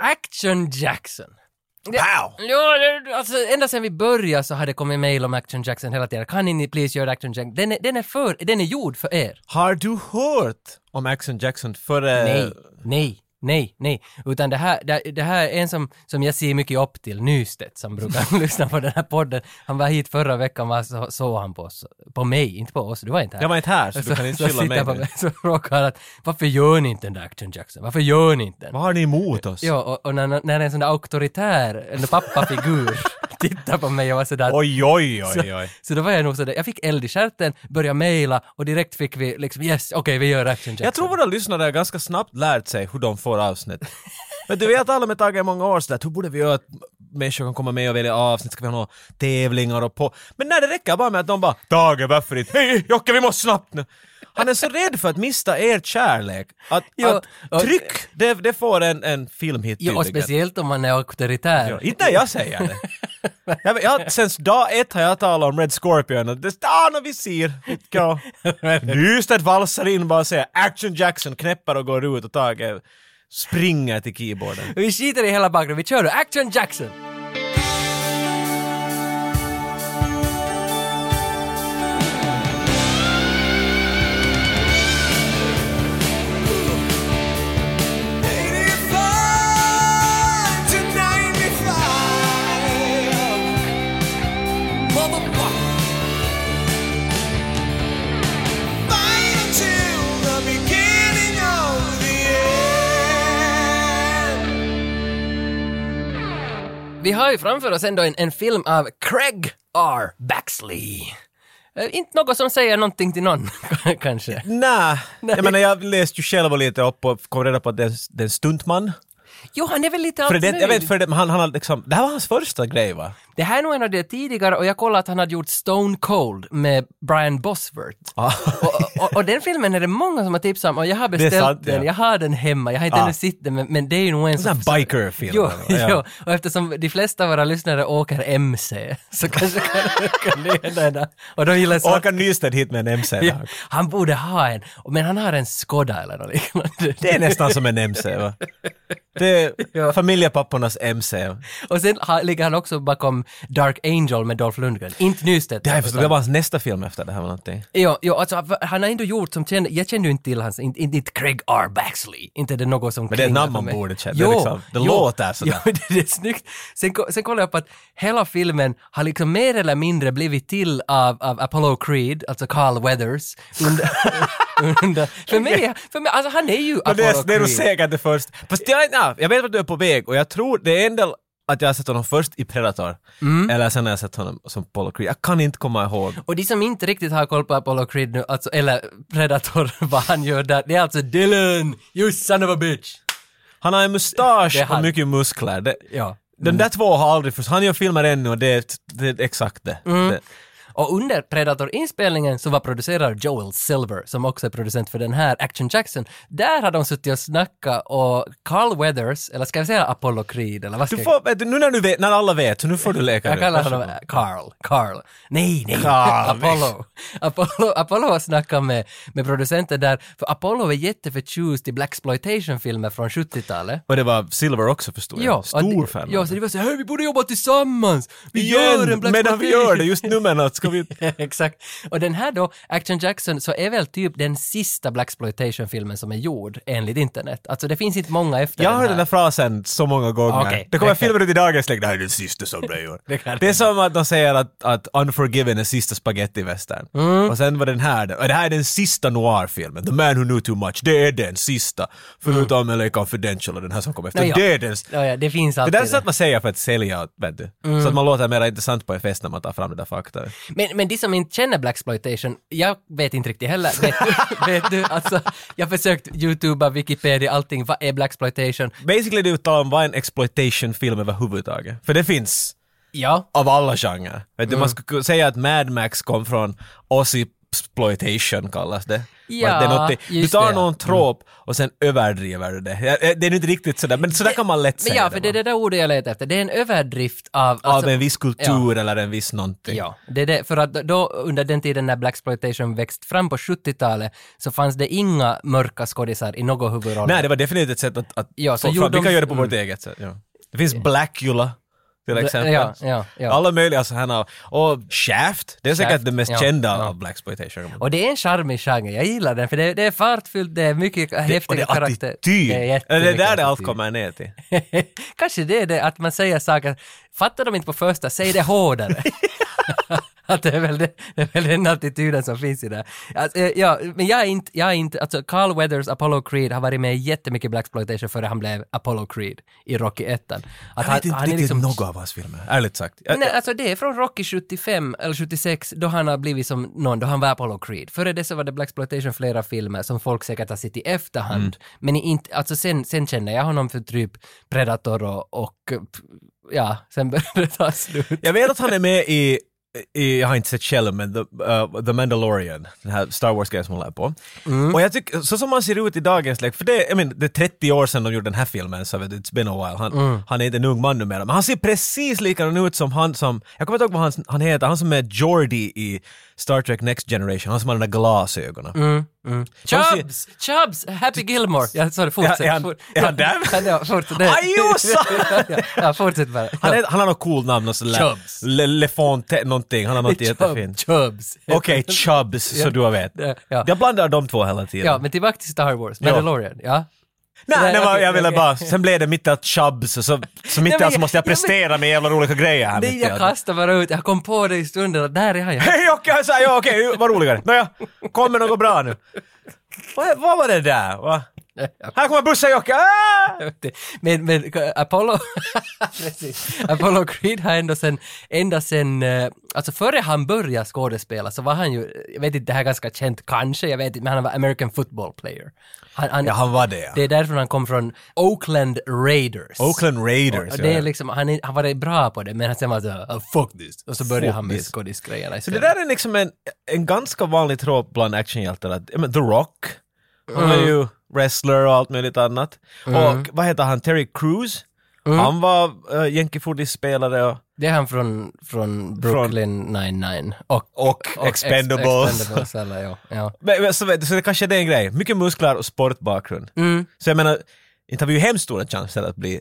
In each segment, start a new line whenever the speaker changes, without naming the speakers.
Action Jackson. Det-
Wow!
Ja, det- alltså ända sedan vi började så har det kommit mejl om Action Jackson hela tiden. Kan ni please göra Action Jackson? Den är, den är för, den är gjord för er.
Har du hört om Action Jackson eh, före...
Nej, nej, nej, nej. Utan det här, det, det här är en som, som jag ser mycket upp till, Nystedt, som brukar lyssna på den här podden. Han var hit förra veckan, var, så såg han på oss, på mig, inte på oss, du var inte här.
Jag var inte här, så, du kan inte skylla
sitter
mig.
han på
nu.
mig så frågar han att varför gör ni inte den där Action Jackson? Varför gör ni inte den?
Vad har ni emot oss?
Ja, och, och när, när en sån där auktoritär, en pappafigur, tittar på mig och var sådär
Oj, oj, oj, oj.
så då var jag nog sådär, jag fick eld i stjärten, började mejla och direkt fick vi liksom yes, okej vi gör Action Jackson.
Jag tror våra lyssnare har ganska snabbt lärt sig hur de får avsnitt. Men du vet alla med taggar i många år sådär, hur borde vi göra att människor kan komma med och välja avsnitt, ska vi ha några tävlingar och på... Men när det räcker bara med att de bara “Tage, varför inte? Hej Jocke, vi måste snabbt nu!” Han är så rädd för att mista er kärlek. Att,
Jo, och-
att tryck, det, det får en, en filmhit
ja, och speciellt om man är auktoritär.
Ja, inte när jag säger det. Jag, jag, sen dag ett har jag talat om Red Scorpion och det ah, no, vi ser. Ja. Nystedt valsar in bara och säger Action Jackson knäppar och går ut och Tage springer till keyboarden.
Vi skiter i hela bakgrunden, vi kör då Action Jackson! Vi har ju framför oss ändå en, en film av Craig R. Baxley. Eh, inte något som säger någonting till någon, kanske.
Nä. Jag menar jag läste ju själv lite upp och kom reda på att det är en- det är en stuntman.
Jo, han är väl lite
För det, jag vet
altnöjd.
för det, men han, han har liksom, det här var hans första grej va?
Det här är nog en av de tidigare och jag kollade att han hade gjort Stone Cold med Brian Bosworth.
Ah.
och, och, och den filmen är det många som har tipsat om och jag har beställt
sant, ja.
den, jag har den hemma, jag har inte
Ah.
ännu sett den men, men det är ju nog en
sån
som...
här bikerfilm,
Jo,
eller? Ja.
jo, och eftersom de flesta av våra lyssnare åker MC så kanske kan, kan det hända en där. Och de gillar svart.
Åker Nystedt hit med en MC?
Ja, han borde ha en, men han har en Skoda eller något liknande.
Det är nästan som en MC va? Det är
Ja.
familjepappornas MC.
Och sen har, ligger han också bakom Dark Angel med Dolph Lundgren, inte Nystedt.
Det här förstod, det
utan-
var hans nästa film efter det här var någonting.
Ja, ja alltså, han har ändå gjort som känd, jag kände ju inte till hans, inte, inte Craig R. Baxley, inte är det något som
Men det är ett
klingar
namn
för
man
mig.
borde känna, det är liksom- det låter sådär.
Jo, det är snyggt. Sen, ko- sen kollade jag på att hela filmen har liksom mer eller mindre blivit till av, av Apollo Creed, alltså Carl Weathers. Under, under, för mig, för mig, alltså han är ju Apollo
Men det är, det är nog
Creed.
säkert det först. Fast jag, ja, jag vet vart du är på väg och jag tror det är en del att jag har sett honom först i Predator.
Mm.
Eller sen har jag sett honom som Polo Creed. Jag kan inte komma ihåg.
Och de som inte riktigt har koll på Apollo Creed nu, alltså, eller Predator, vad han gör där, det är alltså Dylan, you son of a bitch!
Han har en
Det är
mustasch
han.
och mycket muskler. Det,
Ja. Mm.
De där två har aldrig först. Han gör filmer ännu och det är, det är exakt det.
Mm.
det.
Och under Predator-inspelningen så var producerare Joel Silver, som också är producent för den här Action Jackson. Där har de suttit och snackat och Carl Weathers, eller ska vi säga Apollo Creed eller vad ska
Du
jag...
får, vet du, nu när, du vet, när alla vet, så nu får du leka
Jag
nu.
kallar
Varsågod.
honom Carl, Carl. Nej, nej,
Carl.
Apollo. Apollo. Apollo har snackat med, med producenten där, för Apollo är jätteförtjust i Blaxploitation-filmer från 70-talet.
Och det var Silver också förstår jag.
Ja, och
Stor
det-
fan. alltså.
Ja, så det var så här, "Hej, vi borde jobba tillsammans! Vi gör en
Igen!
Blaxploitation!
Medan vi gör det just nu men att ska vi...
Exakt. Och den här då, Action Jackson, så är väl typ den sista Blaxploitation-filmen som är gjord enligt internet. Alltså det finns inte många efter
Jag
den
har hört
här.
den där frasen så många gånger.
Okej,
det kommer
det kan-
filmer ut i dagens längd, det här är den sista som jag gör.
Det kan-
det är som att de säger att, att Unforgiven är sista spagettivästern.
Mm.
Och sen var den här, och det här är den sista noir-filmen, The Man Who Knew Too Much, det är den sista. Förutom LA Confidential och den här som kom efter,
Nå, Mm. ja.
det är den
Ja, ja, det Mm. finns
det
alltid
där är sånt man säger för att sälja, vet du. Så att man låter mer intressant på en fest när man tar fram det där fakta.
Men, men de som inte känner Blaxploitation, jag vet inte riktigt heller. Vet du, vet du alltså, jag har försökt youtuba, Wikipedia, allting. Vad är Blaxploitation?
Basically det uttalar om vad en exploitation-film överhuvudtaget. För det finns
Ja. Mm.
av alla genrer. Vet du, Man skulle kunna säga att Mad Max kom från Ossi exploitation kallas det.
Ja,
Att det är något, du
just
tar
det.
någon trop och sen överdriver du det. Ja, eh, Det är inte riktigt sådär, men sådär kan man lätt säga
Men ja, för det är
va?
det där ordet jag letar efter. Det är en överdrift av...
Av
alltså-
en viss kultur eller en viss någonting.
Ja, det är det, för att då under den tiden när Blaxploitation växt fram på 70-talet så fanns det inga mörka skådisar i någon huvudroll.
Nej, det var definitivt ett sätt att, att
Ja, så
få fram.
gjorde
Vi
de-
kan göra det på
mm.
vårt eget sätt. Ja. Det finns Blackula till exempel.
Ja, ja, ja.
Alla möjliga sådana. Och Shaft, det är säkert
Shaft,
det mest
ja,
kända
ja.
av Blaxploitation.
Och det är en charmig genre, jag gillar den för det, det är fartfyllt, det är mycket
och det
häftiga
är
karaktärer.
attityd! Det är, det
jättemycket
där det allt
attityd.
kommer ner till.
Kanske det är det att man säger saker, fattar de inte på första, säg det hårdare. att det är, väl det, det är väl den attityden som finns i det. här. Alltså, eh, ja, men jag är inte, jag är inte, alltså Carl Weathers Apollo Creed har varit med i jättemycket Black Exploitation före han blev Apollo Creed i Rocky 1. Att
Jag vet inte riktigt
liksom
några av hans filmer, ärligt sagt. Jag,
Nej, alltså det är från Rocky 75 eller 76 då han har blivit som någon, då han var Apollo Creed. Före det så var det Black Exploitation flera filmer som folk säkert har sett i efterhand.
Mm.
Men i inte, alltså sen, sen känner jag honom för typ Predator och, och ja, sen började det ta slut.
jag vet att han är med i, i jag har inte sett själv, men The, eh, The Mandalorian, den här Star Wars-grejen som hon lär på.
Mm.
Och jag tycker, så som han ser ut i dagens läge, för det, jag menar, det är 30 år sedan de gjorde den här filmen, så vet du, it's been a while. Han,
Mm.
han är inte en ung man numera, men han ser precis likadan ut som han som, jag kommer inte ihåg vad han, han heter, han som är Jordi i Star Trek Next Generation, han som har de där glasögonen.
Mm. Chubbs! Chubbs! Happy Gilmore! Ja, sorry, fortsätt.
Ja, är han-
fort-
är han där?
Ja, ja, fortsätt. Nej.
Ajosa!
ja, ja, fortsätt bara.
Han, är, han har något coolt namn, och sådär,
Chubbs.
Le, Le Fonte, någonting, han har något jättefint.
Chubbs.
Okej, Chubbs, så du vet.
Ja.
Jag blandar de två hela tiden.
Ja, men tillbaka till Star Wars, Mandalorian. Ja.
Nej,
Nej,
nej,
okej,
jag ville
okej.
bara, sen blev det mitt att chubbs och så, så mitt
men
i allt så
jag-
måste jag
ja, men-
prestera med jävla roliga grejer här
Nej,
mitt i
jag
allt.
kastar bara ut, jag kom på det i stunden att där är han. Jag
Hej Jocke, jag sa ja okej, vad roligare. Nåja, kom med något bra nu. Vad, vad var det där? Va? Här kommer bussen Jocke! Ah!
vet inte. Men, men Apollo, Precis. Apollo Creed har ändå sen, ända sen, eh, alltså före han började skådespela så var han ju, jag vet inte, det här är ganska känt kanske, jag vet inte, men han var American football player. Han, han,
Ja, han var det
Det
ja.
är därför han kom från Oakland Raiders.
Oakland Raiders.
Och
ja.
det är liksom, han, är- han var bra på det, men sen var det så, oh, fuck this. Och så började
Fuck
han med
this.
skådisgrejerna
Så det
istället.
där är liksom en, en ganska vanlig trop bland actionhjältar. Att, jag menar, The Rock, han är ju wrestler och allt möjligt annat. Och vad heter han, Terry Crews? Han var uh, Yankee-foodie-spelare och
Det är han från, från Brooklyn 99 och,
Och
ex-
Expendables.
Expendables eller, ja, ja.
Men, men, så, vet- så det kanske det är en grej. Mycket muskler och sportbakgrund. Så jag menar, inte har vi ju hemskt stora chanser att bli,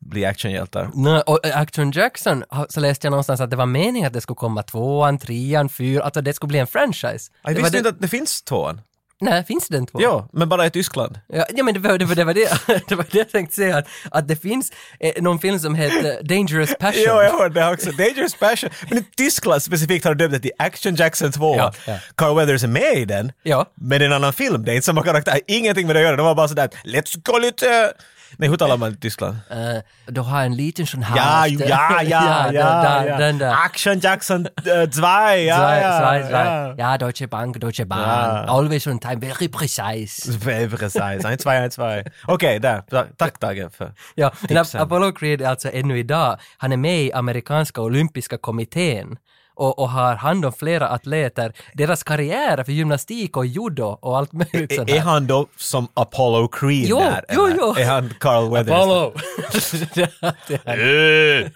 bli actionhjältar.
Nå, Och Action Jackson, ha- så läste jag någonstans att det var meningen att det skulle komma tvåan, trean, fyran, alltså det skulle bli en franchise. det var
Jag visste
det,
inte att det finns tvåan.
Nej, finns det en tvåa?
Ja, men bara i Tyskland.
Ja, ja men det var det, var, det, var det, det var det jag tänkte säga, att, att det finns eh, någon film som heter Dangerous Passion.
Ja, jag hörde det också. Dangerous Passion. Men i Tyskland specifikt har de döpt det till Action Jackson 2.
Ja, ja.
Carl Weathers är med i den.
Ja.
Men det är en annan film. Det är inte samma karaktär. Ingenting med det att göra. De var bara sådär ”Let's go lite...” Nej, hur talar man i Tyskland?
Eh, då har en liten sån här...
Ja, ju, ja, ja, ja,
den-
ja,
den- Den där.
Action Jackson 2, ja,
Zwei,
ja,
zwei, zwei.
ja.
ja, Deutsche Bank, Deutsche Bahn. Always on time, very precise.
Precis, 1, 2, 1, 2. Okej, där. Ta- Tack Tage för...
Ja, men
Tipsen.
Apollo Creed är alltså ännu idag, han är med i amerikanska olympiska kommittén och, och har hand om flera atleter, deras karriärer för gymnastik och judo och allt möjligt sånt
Är, är
här.
han då som Apollo Creed
Jo,
där?
jo,
eller?
jo.
Är han Carl Weathers?
Det är-
Eh.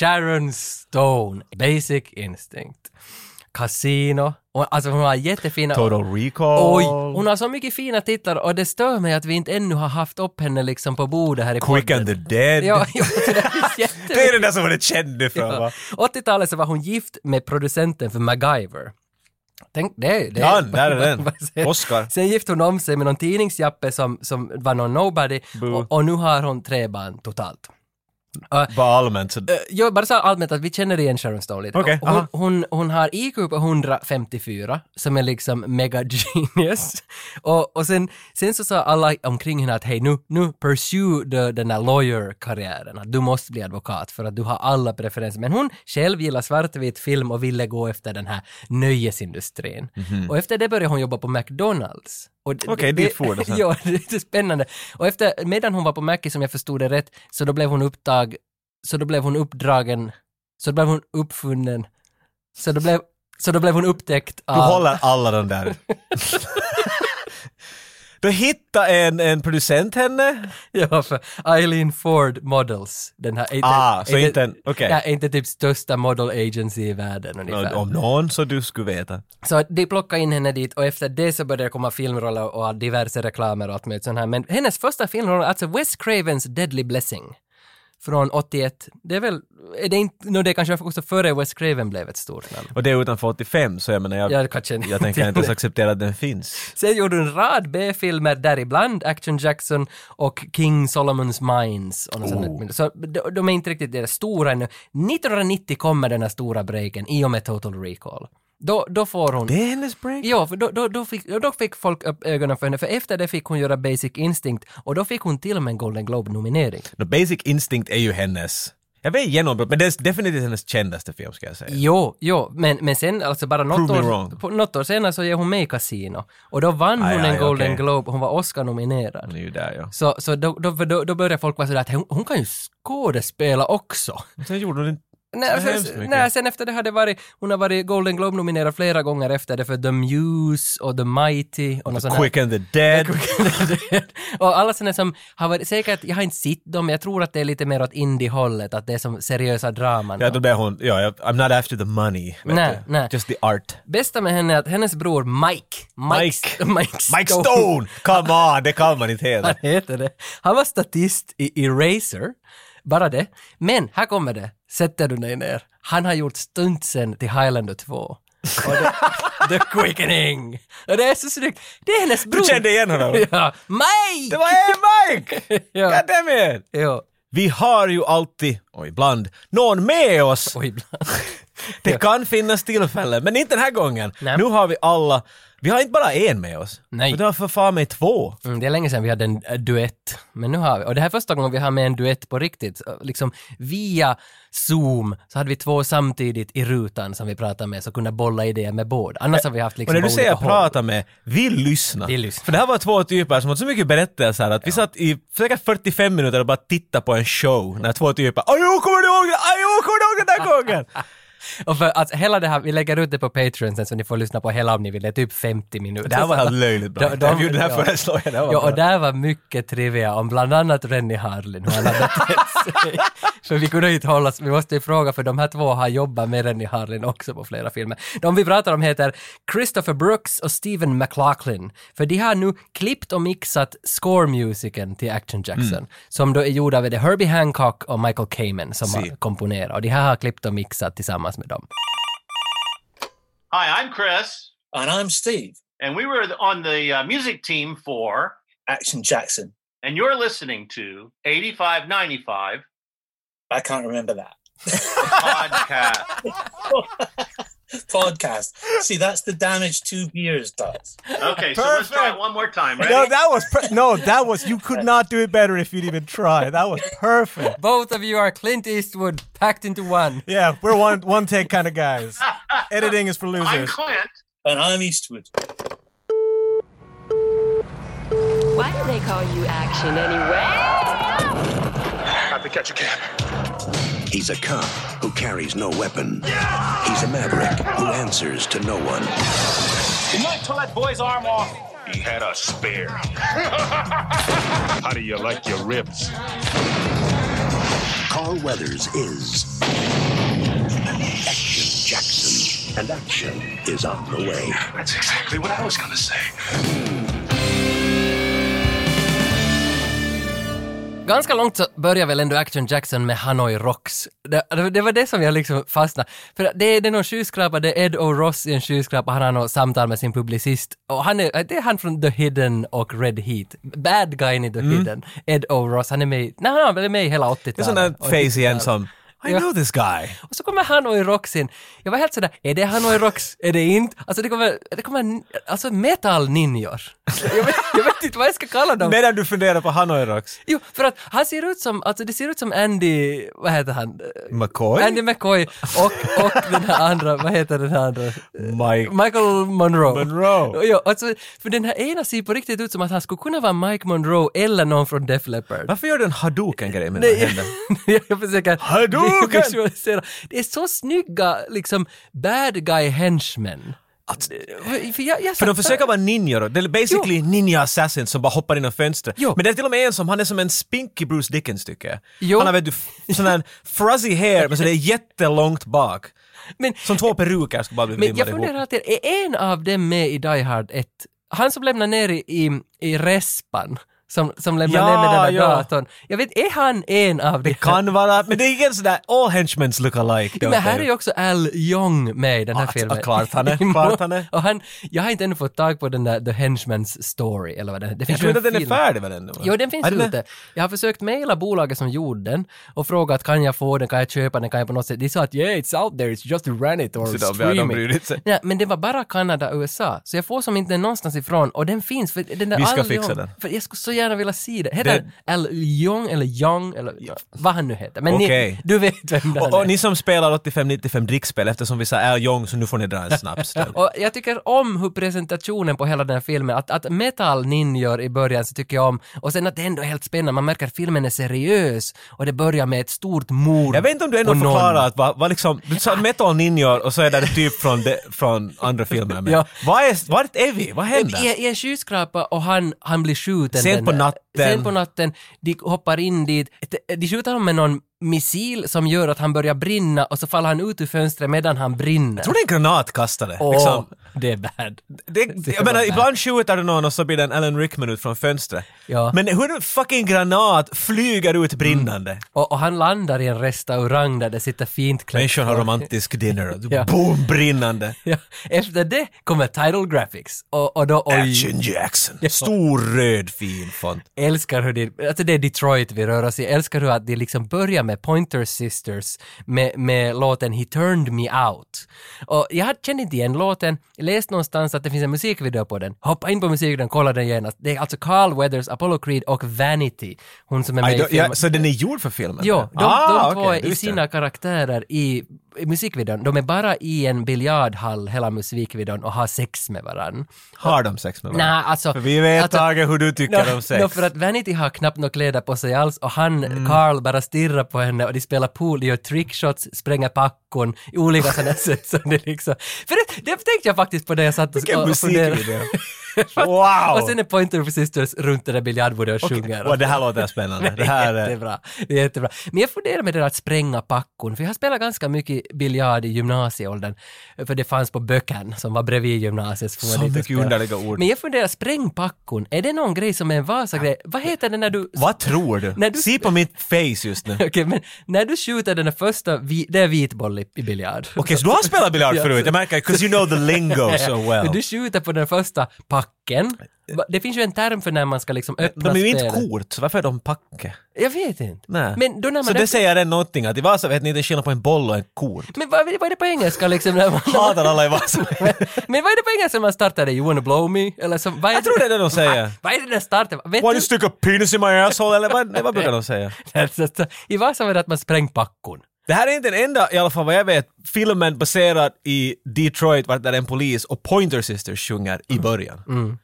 Sharon Stone, Basic Instinct, Casino, och, alltså hon har jättefina...
Total Recall.
Oj, hon har så mycket fina titlar och det stör mig att vi inte ännu har haft upp henne liksom på bordet här i
Quick
podden.
and the Dead.
Ja, ja, det där finns jättemycket.
Det är den där som hon är känd ifrån va?
80-talet så var hon gift med producenten för MacGyver. Tänk det. det
Ja, där är den. Oscar.
Sen gifte hon om sig med någon tidningsjappe som, som var någon nobody
Boo.
och, och nu har hon tre barn totalt. Uh,
Bara allmänt. Så...
jag bara sa allmänt att vi känner igen Sharon Stone lite.
Okej,
Och hon,
aha.
hon, hon har IQ på 154 som är liksom mega genius. Och, och sen, sen så sa alla omkring henne att hej nu, nu pursue the, den där lawyer-karriären, att du måste bli advokat för att du har alla preferenser. Men hon själv gillar svartvit film och ville gå efter den här nöjesindustrin. Och efter det började hon jobba på McDonalds. Och d-
Mhm. Okej,
det-
dit for det sen.
Ja, det är lite spännande. Och efter, medan hon var på Mackie, som jag förstod det rätt, så då blev hon upptag så då blev hon uppdragen, så då blev hon uppfunnen, så då blev Så då blev hon upptäckt
Du
av...
håller alla de där. Då hittar en, en producent henne.
Ja, för Eileen Ford Models. Den här, inte,
Ah, så inte en- okej.
Ja, inte typ största model agency i världen ungefär.
Om någon så du skulle veta.
Så de plockade in henne dit och efter det så började det komma filmroller och diverse reklamer och allt möjligt sånt här. Men hennes första filmroll, alltså Wes Cravens Deadly Blessing från 81, det är väl, är det inte, no, det är kanske också före Wes Craven blev ett stort namn.
Och det är utanför 85 så jag menar jag,
Jag kanske inte
jag tänker inte ens acceptera att den finns.
Sen gjorde hon en rad B-filmer däribland Action Jackson och King Solomons Mines. Och något
Oh.
sånt. Så de, de är inte riktigt deras stora ännu. 1990 kommer den här stora breaken i och med Total Recall. Då, då får hon...
Det är hennes break.
Ja, för då, då, då, fick, då fick folk upp ögonen för henne, för efter det fick hon göra Basic Instinct och då fick hon till och med en Golden Globe-nominering.
No, Basic Instinct är ju hennes. Jag vet genombrott, men det är definitivt hennes kändaste film ska jag säga.
Jo, jo, men, men sen alltså bara något
Eh. Prove me
år,
wrong.
på, något år senare så ger hon mig Casino och då vann
Aj,
hon en
aj,
Golden
okej.
Globe, hon var Oscar-nominerad.
Hon är ju där ja.
Så, så då, då, för då, då började folk vara sådär att hon, hon kan ju skådespela också.
Sen gjorde hon inte...
Nej,
Så hemskt
sen,
mycket.
nej, sen efter det hade varit, hon har varit Golden Globe-nominerad flera gånger efter det för The Muse och The Mighty och något sånt där.
Quick and the Dead.
och alla sådana som har varit, säkert, jag har inte sett dem, jag tror att det är lite mer åt indie-hållet, att det är som seriösa draman.
Ja, då blev hon... Ja, jag- I'm not after the money. vet
Nej,
du.
nej.
Just the art.
Bästa med henne är att hennes bror Mike, Mike,
Mike. Mike Stone! Come on, det kan man inte hela.
Han heter det. Han var statist i Eraser, bara det. Men här kommer det, sätter du dig ner. Han har gjort stuntsen till Highlander 2. Och det, the Quickening! Och det är så snyggt. Det är hennes bror.
Du kände igen honom?
Ja. Mike!
Det var hey Mike!
Ja.
God damn it!
Ja,
Vi har ju alltid, och ibland, någon med oss.
och ibland.
Det kan finnas tillfällen, men inte den här gången.
Nej.
Nu har vi alla, vi har inte bara en med oss.
Nej.
Vi har för fan mig två.
Mm, det är länge sedan vi hade en eh, duett, men nu har vi. Och det här är första gången vi har med en duett på riktigt. Så, Liksom via Zoom så hade vi två samtidigt i rutan som vi pratade med, så kunde bolla idéer med båda. Annars har vi haft
Eh,
liksom
Och när du
på
säger
olika håll.
prata med, vi lyssnar.
Vi lyssnar.
För det här var två typer som hade så mycket berättelser att vi satt i säkert 45 minuter och bara tittade på en show när två typer ”Ajo, kommer du ihåg det? Ajo, kommer du ihåg den där gången?”
Och för att hela det här, vi lägger ut det på Patreon sen så ni får lyssna på hela om ni vill, det är typ 50 minuter.
Det här var helt löjligt bra.
De-
De,
de-
de, det här
ja.
föreslår jag. Det här var
Ja, och
bra.
där var mycket trivia om bland annat Rennie Harlin, hur han hade betett sig. För vi kunde inte hålla oss, vi måste ju fråga för de här två har jobbat med Rennie Harlin också på flera filmer. De vi pratar om heter Christopher Brooks och Stephen McLaughlin. För de har nu klippt och mixat scoremusiken till Action Jackson,
Mm.
som då är gjord av det Herbie Hancock och Michael Kamen som har komponerat. Och de här har klippt och mixat tillsammans med dem.
Hi, I'm Chris,
And I'm Steve,
and we were on the uh, music team for,
Action Jackson.
and you're listening to 8595
I can't remember that.
Podcast.
Podcast. See, that's the damage two beers does.
Okay, so let's try it
Perfect.
one more time.
No,
Ready?
that was per- no, that was you could not do it better if you'd even try. That was perfect.
Both of you are Clint Eastwood packed into one.
Yeah, we're one one take kind of guys. Editing is for
I'm
losers.
Clint.
And I'm Eastwood.
Why do they call you action anyway?
He's a cop who carries no weapon. He's a maverick who answers to no one.
He had a spare. How do you like your ribs?
Carl Weathers is Action Jackson, and action is on the way.
That's exactly what I was gonna say.
Ganska långt så börjar väl ändå Action Jackson med Hanoi Rocks. Det, det, det var det som jag liksom fastnade. För det är det är någon skyskrapa, det är Ed O'Ross i en skyskrapa, han har något samtal med sin publicist. Och han är, det är han från The Hidden och Red Heat. Bad guyn i The Hidden, Ed O'Ross, han är med i, nej, han är väl med i hela 80-talet.
Mm. Det är sån där
Och
face igen som I
Ja.
know this guy.
och så kommer Hanoi Rocks in. Jag var helt sådär, är det Hanoi Rocks? Är det inte? Alltså det kommer, det kommer alltså metal-ninjor. Jag vet, jag vet inte vad jag ska kalla dem.
Medan du funderar på Hanoi Rocks.
Jo, för att han ser ut som, alltså det ser ut som Andy, vad heter han?
McCoy?
Andy McCoy och, och den här andra, vad heter den här andra?
Mike.
Michael Monroe.
Monroe.
Ja, alltså, för den här ena ser på riktigt ut som att han skulle kunna vara Mike Monroe eller någon från Def Leppard.
Varför gör du en Hadouken-grej med dina
Nej,
händer?
jag, jag försöker
Hadouken!
visualisera. Det är så snygga, liksom, bad guy henchmen.
Alltså,
För, jag, jag
För de försöker vara ninjor. då. Det är basically ninja assassins som bara hoppar in genom fönstret.
Jo.
Men det är till och med en som, han är som en spinky Bruce Dickens tycker jag.
Jo.
Han har vet du, f- sån här frizzy hair men så det är jättelångt bak.
Men-
som två peruker ska bara bli
Men jag
limmade ihop.
funderar alltid, är en av dem med i Die Hard 1? Han som lämnar ner i, i, i respan, som, som lämnar
Ja,
ner med den där
ja.
datorn. Jag vet, är han en av dem?
Kan vara, men det är ingen sån där all henchmens look alike.
Men här är ju också Al Young med i den här
Ah,
filmen.
ah, klart han är, klart han är.
Och han, jag har inte ännu fått tag på den där The Henchman's Story, eller vad den Det
Jag
finns
tror
ju
inte
en
att den är
film.
färdig väl ändå?
Jo, den finns
Är
ute. Jag har försökt mejla bolaget som gjorde den och frågat kan jag få den, kan jag köpa den, kan jag på något sätt. De sa att yeah, it's out there, it's just rent it or
Så de- ja, de
streaming.
bryr sig.
Nej, men det var bara Kanada och USA, så jag får som inte den någonstans ifrån och den finns. För den där
Vi ska
Al
fixa
Young-
den.
För jag skulle så gärna vilja se det. Heter
Det-
han Al Young eller Young eller vad han nu heter. Men ni,
Okej.
du vet vem det
Och, och
är.
ni som spelar 85-95 drickspel eftersom vi sa Al Young så nu får ni dra en snaps. där.
Och jag tycker om hur presentationen på hela den här filmen, att, att metal ninjor i början så tycker jag om, och sen att det ändå är helt spännande, man märker att filmen är seriös och det börjar med ett stort mord.
Jag vet inte om du ändå
och någon-
förklarar att vad, vad liksom, du sa metal ninjor och så är det typ från, de, från andra filmer. Men
Ja.
vad är, vart är vi? Vad
I,
händer?
I en skyskrapa och han, han blir skjuten.
Sent
den-
på natten.
Sent på natten. De hoppar in dit. De- De skjuter honom med någon missil som gör att han börjar brinna och så faller han ut ur fönstret medan han brinner.
Jag tror det är en granatkastare.
Åh,
Liksom.
det är bad.
Det,
var
jag menar,
bad.
ibland skjuter du någon och så blir det en Alan Rickman ut från fönstret.
Ja.
Men hur en fucking granat flyger ut brinnande?
Och, och han landar i en restaurang där det sitter fint klädda
Människan har
folk.
romantisk dinner och
Ja.
boom, brinnande.
Ja, efter det kommer title graphics och, och då oj,
Action Jackson. Stor röd fin font.
älskar hur det, alltså det är Detroit vi rör oss i, älskar hur att det liksom börjar med Pointer Sisters med, med låten He Turned Me Out. Och jag kände inte igen låten, jag läste någonstans att det finns en musikvideo på den, hoppa in på musikvideon, kolla den genast. Det är alltså Carl Weathers, Apollo Creed och Vanity, hon som är med
Aj,
i
då,
filmen.
ja, så den är gjord för filmen?
Jo, de,
Ah,
de två
okej,
är
det
i
visste jag
sina karaktärer i, i musikvideon. De är bara i en biljardhall hela musikvideon och har sex med varann.
Har de sex med
Nej,
varandra?
alltså...
För vi vet
alltså,
Tage hur du tycker
nå-
om sex. Mm.
nå, för att Vanity har knappt några kläder på sig alls och han, Carl, bara stirrar på henne och de spelar pool, de gör trickshots, spränger packon i olika sådana sätt som det liksom... För det, det tänkte jag faktiskt på det jag satt och,
Vilken
och, och funderade.
musikvideo! wow!
Och sen är Pointer Sisters runt det där biljardbordet och sjunger.
Wow, det här låter spännande. Det
Det är
här eh, är...
jättebra. Det är jättebra. Men jag funderar med det där att spränga packon, för jag har spelat ganska mycket biljard i gymnasieåldern, för det fanns på böckan som var bredvid gymnasiet. Så, får man
Så
dit och
mycket
spela.
underliga ord.
Men jag funderar, spräng packon, är det någon grej som är en Vasa-grej? Vad heter det när du...
Vad tror du?
När du-
Se på mitt face just nu. Okej,
Okej, men när du skjuter den där första, vi... det är vitboll i, i biljard.
så du har spelat biljard förut? Jag märker, 'cause you know the lingo so
Men
well.
Du skjuter på den första packen. Va- Det finns ju en term för när man ska liksom öppna
Eh, De är ju inte
spelet.
kort, så varför är de packe?
Jag vet inte.
Nej.
Men då när man...
Så det säger redan någonting, att i Vasa vet ni inte skillnad på en boll och en kort.
Men vad, vad är det på engelska liksom? När man...
Hatar alla i Vasa.
Men vad är det på engelska när man startar det? You wanna blow me? Eller så, vad är
Jag tror det är det de säger.
Vad är det den startar? Vet
Why
du?
you stick a penis in my asshole? Eller vad, vad brukar de säga?
Alltså, så- I Vasa var det att man spräng packon.
Det här är inte den enda, i alla fall vad jag vet, filmen baserad i Detroit vart där en polis och Pointer Sisters sjunger i början.
Mm.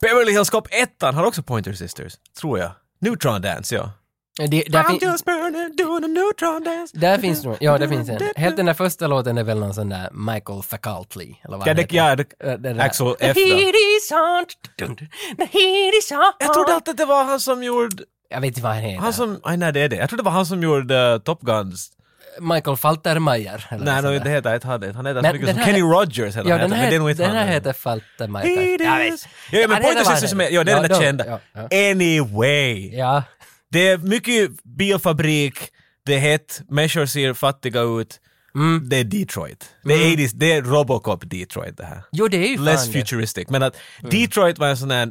Beverly Hills Cop 1 har också Pointer Sisters, tror jag. Neutron Dance, ja.
Det, där, fin-
burning, doing a neutron dance.
där finns nog, ja det finns en. Helt den där första låten är väl någon sån där Michael Facaltley, eller vad
Ja,
han
det,
heter.
ja, det,
Äh, den där-
Axel
The
F då.
heat is on, dun, dun, the heat is on.
Jag trodde alltid att Alltså- det var han som gjorde,
Jag vet inte vad han heter.
han som, nej, nej det är det. Jag trodde det var han som gjorde eh, Top Guns.
Michael Faltermeier. eller
Nej,
något sånt
no,
där.
det heter inte han. det. Han heter
Men
så mycket
den
som
här-
Kenny Rogers eller
Ja,
vad
den
heter, men det är nog
här,
inte
den
han.
här heter Faltermeier.
It
Jag
is-
vet.
Ja, ja,
det var
men Pointer
han
Sisters som är,
heter.
ja det är den där
de-
kända.
ja, ja.
Anyway.
Ja.
Det är mycket bilfabrik, det är hett, människor ser fattiga ut. Det är Detroit. Det är, 80s, det är Robocop Detroit det här.
Jo, det är ju fan
Less
det.
futuristic. Mm. Men att Detroit var en sån här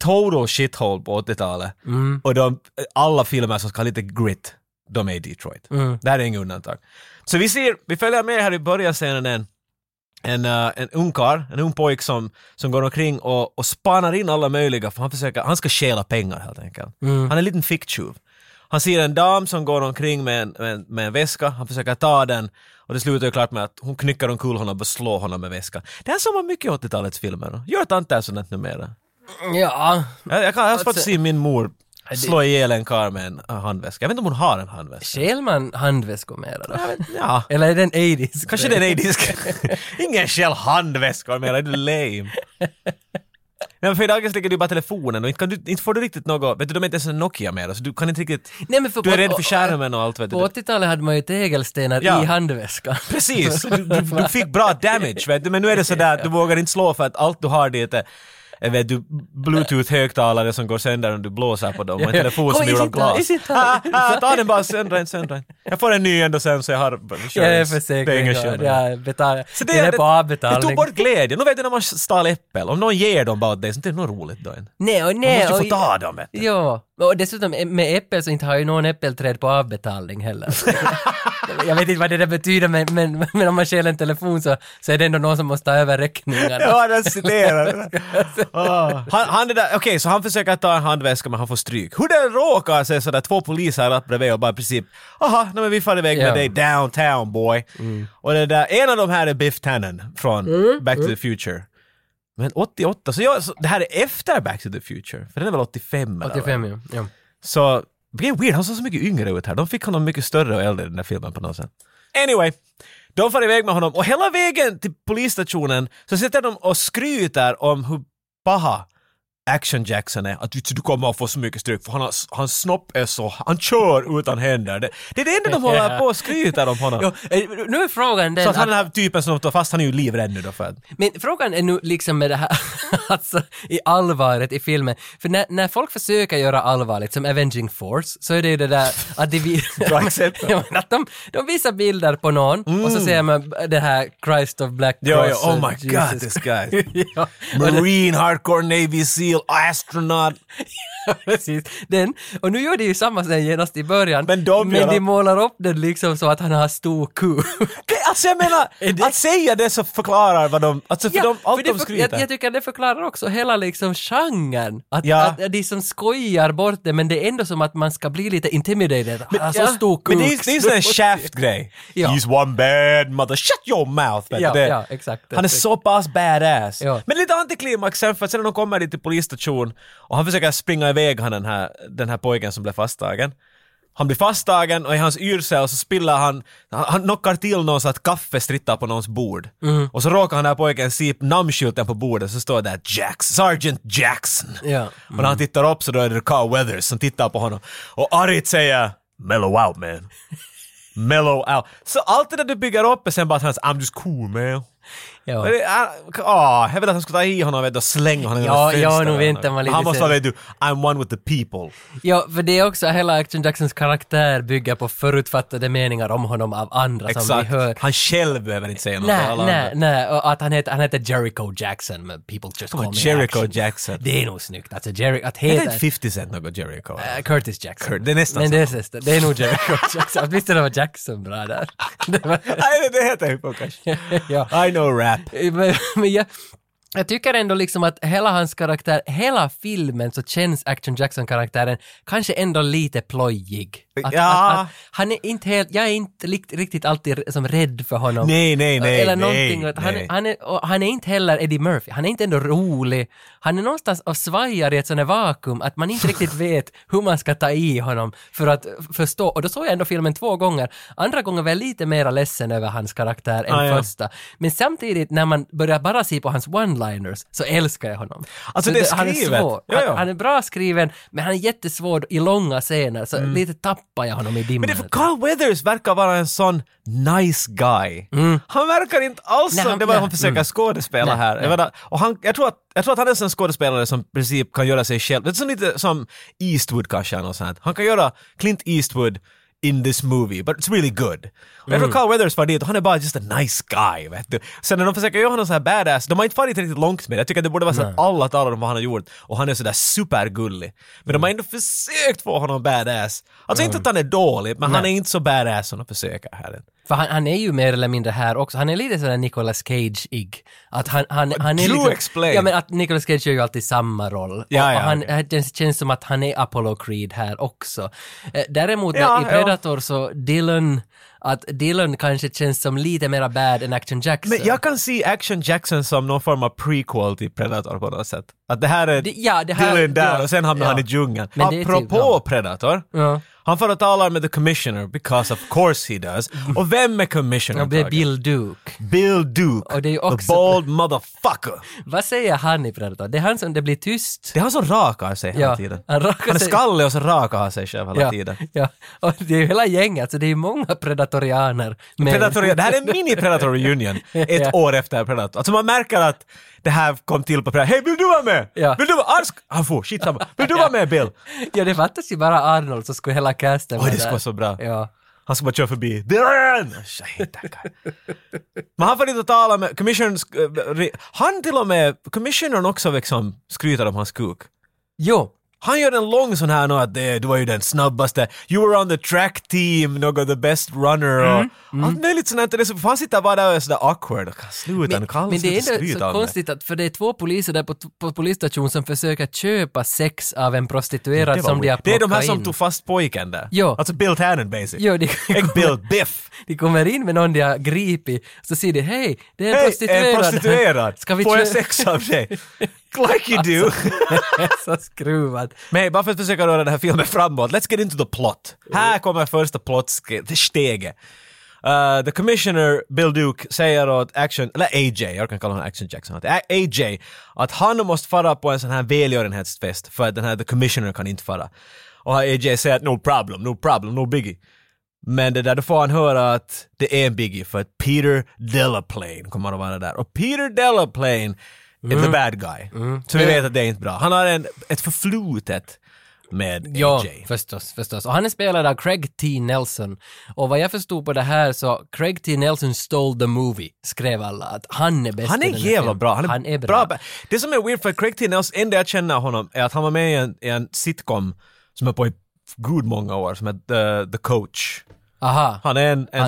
total shithole på 80-talet. Och de, alla filmer som ska ha lite grit, de Mm. är i Detroit. Det här är inget undantag. Så vi ser, vi följer med här i början scenen. en, eh, en ungkarl, en ung pojk som, som går omkring och, och spanar in alla möjliga, för han, försöker, han ska stjäla pengar helt enkelt. Han är en liten ficktjuv. Han ser en dam som går omkring med en, med, en- med en väska, han försöker ta den och det slutar ju klart med att hon knycker omkull honom och slår honom med väskan. Det här såg man mycket i 80-talets filmer. Gör tanter sånt numera?
Ja,
Jag, jag, kan, jag har svårt att
Alltså-
se min mor slå ihjäl en karl med en eh, handväska. Jag vet inte om hon har en handväska.
stjäl man handväskor mera då?
Ja.
Eller är det en 80s
Kanske det är en disk. Ingen käll handväskor mer, är du lame? Nej men för idag ligger du bara telefonen och inte, kan du, inte får du riktigt något, vet du de är inte ens en Nokia mer så du kan inte riktigt,
Nej, men för
du är
på-
rädd för skärmen och allt vet
På
du.
80-talet hade man ju tegelstenar
Ja.
i handväskan.
Precis, du, du, du fick bra damage vet du men nu är det sådär att du vågar inte slå för att allt du har dit är eh, vet du, bluetooth-högtalare som går sönder om du blåser på dem och en
Ja, ja.
telefon som
Kom,
är gjord av
i sitt hand, i
glas.
sitt
Ah,
hand.
ah, ta den bara, söndra den, söndra den. Jag får en ny ändå sen så jag har
Jag är
Det är ingen
försäkring.
skillnad.
Jag betalar.
Så
det, är på avbetalning.
Det tog bort glädjen. Nu vet du när man stal äppel, om någon ger dem bara åt dig så det är nog roligt då. Man
Nej, och nej.
måste ju
och-
få ta dem. vet du.
Ja, och dessutom eh, med äppel så inte har ju någon äppelträd på avbetalning heller. jag vet inte vad det där betyder men, men, men om man stjäl en telefon så, så är det ändå någon som måste ta över räkningarna.
Ja, den citerar. Ah. han, han är där, okej, så han försöker ta en handväska men han får stryk. Hur det råkar sig sådär två poliser upp bredvid och bara i princip aha, nej, men vi far iväg
Ja.
med dig downtown boy. Och det där, en av de här är Biff Tannen från Back to the Future. Men 88, så, jag, så det här är efter Back to the Future, för den är väl 85? eller vad?
85 ja. ja.
Så, vilken weird, han såg så mycket yngre ut här. De fick honom mycket större och äldre i den där filmen på något sätt. Anyway, de far iväg med honom och hela vägen till polisstationen så sitter de och skryter om hur paha Action Jackson är. Att du, du kommer att få så mycket stryk för han har, hans snopp är så, han kör utan händer. Det, det är det enda de håller på och skryter om honom.
Jo, eh, nu är frågan den
Så att han
att-
är den här typen som tar fast, han är ju livrädd nu då för att...
Men frågan är nu liksom med det här, alltså i allvaret i filmen. För när, när folk försöker göra allvarligt, som Avenging Force, så är det ju det där att de, vi-
Bra exempel.
Ja, men att de, de visar bilder på någon och så ser man det här Christ of Black
Jo,
Cross. eh,
jo, Mm. oh
och
my god this guy.
ja, och det,
Marine, hardcore, Navy SEAL, astronaut.
precis. Den. Och nu gör de ju samma sen genast i början.
Men de gör
men de
det.
målar upp den liksom så att han har stor kuk.
Det- Alltså jag menar, att säga det så förklarar vad de, alltså för de, allt
för det
de
för-
skryter.
jag, jag tycker det förklarar också hela liksom genren. Att,
Ja.
att, att de som skojar bort det, men det är ändå som att man ska bli lite intimidated. Men, alltså,
Ja,
stor kuk.
Men det är ju det är ju sån där shaft-grej.
Ja.
He's one bad mother, shut your mouth! vet du.
Ja,
det,
ja, exakt.
han är
Exakt.
så pass badass.
Ja.
Men lite antiklimax sen för att sen när de kommer dit till polisstation och han försöker springa iväg han den här, den här pojken som blev fasttagen. Han blir fasttagen och i hans yrsel så spiller han, han, han knockar till någon så att kaffe strittar på någons bord.
Mm.
Och så råkar han den här pojken se namnskylten på bordet så står det där Jax, Sergeant Jackson.
Ja. Mm.
Och när han tittar upp så då är det Carl Weathers som tittar på honom. Och argt säger “Mellow out man”. Mellow out. Så allt det där du bygger upp är sen bara att han säger “I'm just cool man”.
Ja.
Men det är- ah, jag vill att han ska ta i honom vet, du, och slänga honom
Ja,
genom
ja,
fönstret.
nog väntar man lite
Han måste
sen.
vara vet du, “I'm one with the people”.
ja, för det är också hela Action Jacksons karaktär bygger på förutfattade meningar om honom av andra som vi
Exakt.
hör.
Han själv behöver inte säga något.
Nej,
alla
nej,
andra.
nej, och att han heter, han heter Jericho Jackson, men people just
Come
call
on,
me
Jericho
Action.
Jackson.
Det är nog snyggt, alltså Jerry, att
Är det inte
heta...
50 Cent något Jericho?
Äh, Curtis Jackson.
Cur- det är nästan
Men det är, nästan- det är nog Jericho Jackson. Åtminstone var Jackson bra där. Det var,
Nej, det heter ju på kanske.
ja.
I know rap.
Eh, men, men jag, jag tycker ändå liksom att hela hans karaktär, hela filmen så känns Action Jackson-karaktären kanske ändå lite plojig. Att,
Ja.
att, att, han är inte helt, jag är inte likt, riktigt alltid som rädd för honom.
Nej, nej, nej,
Eller
nej,
någonting. att han,
nej.
Han, är, och han är inte heller Eddie Murphy, han är inte ändå rolig. Han är någonstans och svajar i ett sånt här vakuum att man inte riktigt vet hur man ska ta i honom för att förstå. Och då såg jag ändå filmen två gånger. Andra gången var jag lite mera ledsen över hans karaktär än
Ah, ja.
första. Men samtidigt när man börjar bara se på hans one-liners så älskar jag honom.
Alltså,
Så
det är
han är
skrivet.
svår.
Ja, ja.
Han, han är bra skriven men han är jättesvår i långa scener så lite tappar jag honom i dimman.
Mm. Men det är för Carl Weathers verkar vara en sån nice guy.
Mm.
Han verkar inte alls
Nej,
som
han-
Alltså,
Mm.
det var
nej.
han försöker skådespela här. Jag, menar, och han, jag, tror att, jag tror att han är en sån skådespelare som i princip kan göra sig själv. Det är så lite som Eastwood kanske eller något sånt. Han kan göra Clint Eastwood in this movie, but it's really good. Och jag
Mm.
tror Carl Weathers var dit och han är bara just a nice guy. Vet du? Sen när de försöker göra honom så här badass, de har inte farit riktigt långt med det. Jag tycker att det borde vara så att alla talar om vad han har gjort och han är sådär supergullig. Men
Mm.
de har ändå försökt få honom badass. Alltså inte att han är dålig, men han är inte så badass som de försöker här.
För han, han är ju mer eller mindre här också. Han är lite sådär Nicolas Cage-ig. Att han, han, han är
Do
liksom,
explain.
Ja men att Nicolas Cage gör ju alltid samma roll. Och-
Ja, ja,
och han, eh,
okej.
det känns, känns som att han är Apollo Creed här också. Eh, däremot när-
Ja,
i Predator så Dylan, att Dylan kanske känns som lite mera bad än Action Jackson.
Men jag kan se Action Jackson som någon form av prequel till Predator på något sätt. Att det här är
Det- ja, det här-
Dylan där
ja.
och sen hamnar
Ja.
han i djungeln.
Men det är typ-
Apropå
ja.
Predator,
Ja.
han får och talar med the commissioner, because of course he does. Och vem är commissioner?
Ja, det är
Tage?
Bill Duke.
Bill Duke,
Och det är ju
the
också-
bald motherfucker.
Vad säger han i Predator? Det är han som det blir tyst.
Det är han som rakar sig hela
Ja,
tiden.
han rakar
han är
sig.
skallig och så rakar han sig själv hela
ja,
tiden.
ja, och det är ju hela gänget, så det är ju många predatorianer. med.
Predator, det här är en mini-Predator Reunion, ett
Ja.
år efter Predator. Alltså man märker att det här kom till på Predator. Hej, vill du vara med?
Ja.
Vill du vara Ah, Arsk? Han for, shit samma. Vill du vara med Bill?
Ja, det fattas ju bara Arnold så skulle hela casten
Oj, det
där.
skulle vara så bra.
Ja.
Han ska bara köra förbi. Dylan! I hate that guy. Men han får inte tala med commissionern. sk- eh, re- Han till och med, commissionern också liksom skryter om hans kuk.
Jo,
Han gör en lång sån här nu att det, du var ju den snabbaste, you were on the track team, något the best runner och
Mm,
allt möjligt sånt där. Det är så- Han sitter bara där och är sådär awkward. Sluta nu, Karl,
men det
sluta
är ändå
skryta
så
om mig.
konstigt att, för det är två poliser där på, på polisstationen som försöker köpa sex av en prostituerad
Det var
som de har
weird. Det är de här
plockat
som
in.
tog fast pojken där.
Ja.
Alltså Bill Tannen basic.
Jo, det-
Ägg Bill Biff.
De kommer in med någon de har gripit, så säger de hej, det är en
Hej,
prostituerad.
en prostituerad.
Ska vi Alltså.
Får jag
kö-
sex av dig? like you do.
Det är så skruvat.
Men hey, bara för att försöka röra den här filmen framåt, let's get into the plot. Här kommer första plottsteget. Uh, the commissioner, Bill Duke, säger åt Action, eller AJ, jag kan kalla honom Action Jackson, att A- AJ, att han måste fara på en sån här välgörenhetsfest för att den här the commissioner kan inte fara. Och AJ säger att no problem, no problem, no biggie. Men det där, då får han höra att det är en biggie för att Peter Delaplane kommer att vara där. Och Peter Delaplane är the bad guy. Så vi vet att det är inte bra. Han har en, ett förflutet med AJ.
Ja, förstås, förstås. Och han är spelad av Craig T. Nelson. Och vad jag förstod på det här så, Craig T. Nelson stole the movie, skrev alla. Att han är bäst
Han
i
är
den här
jävla
filmen.
bra. Han är,
bra.
bra. Det som är weird för Craig T. Nelson, enda jag känner honom är att han var med i en, i en sitcom som är på i gud många år, som heter The, The Coach.
Aha.
Han är en, en,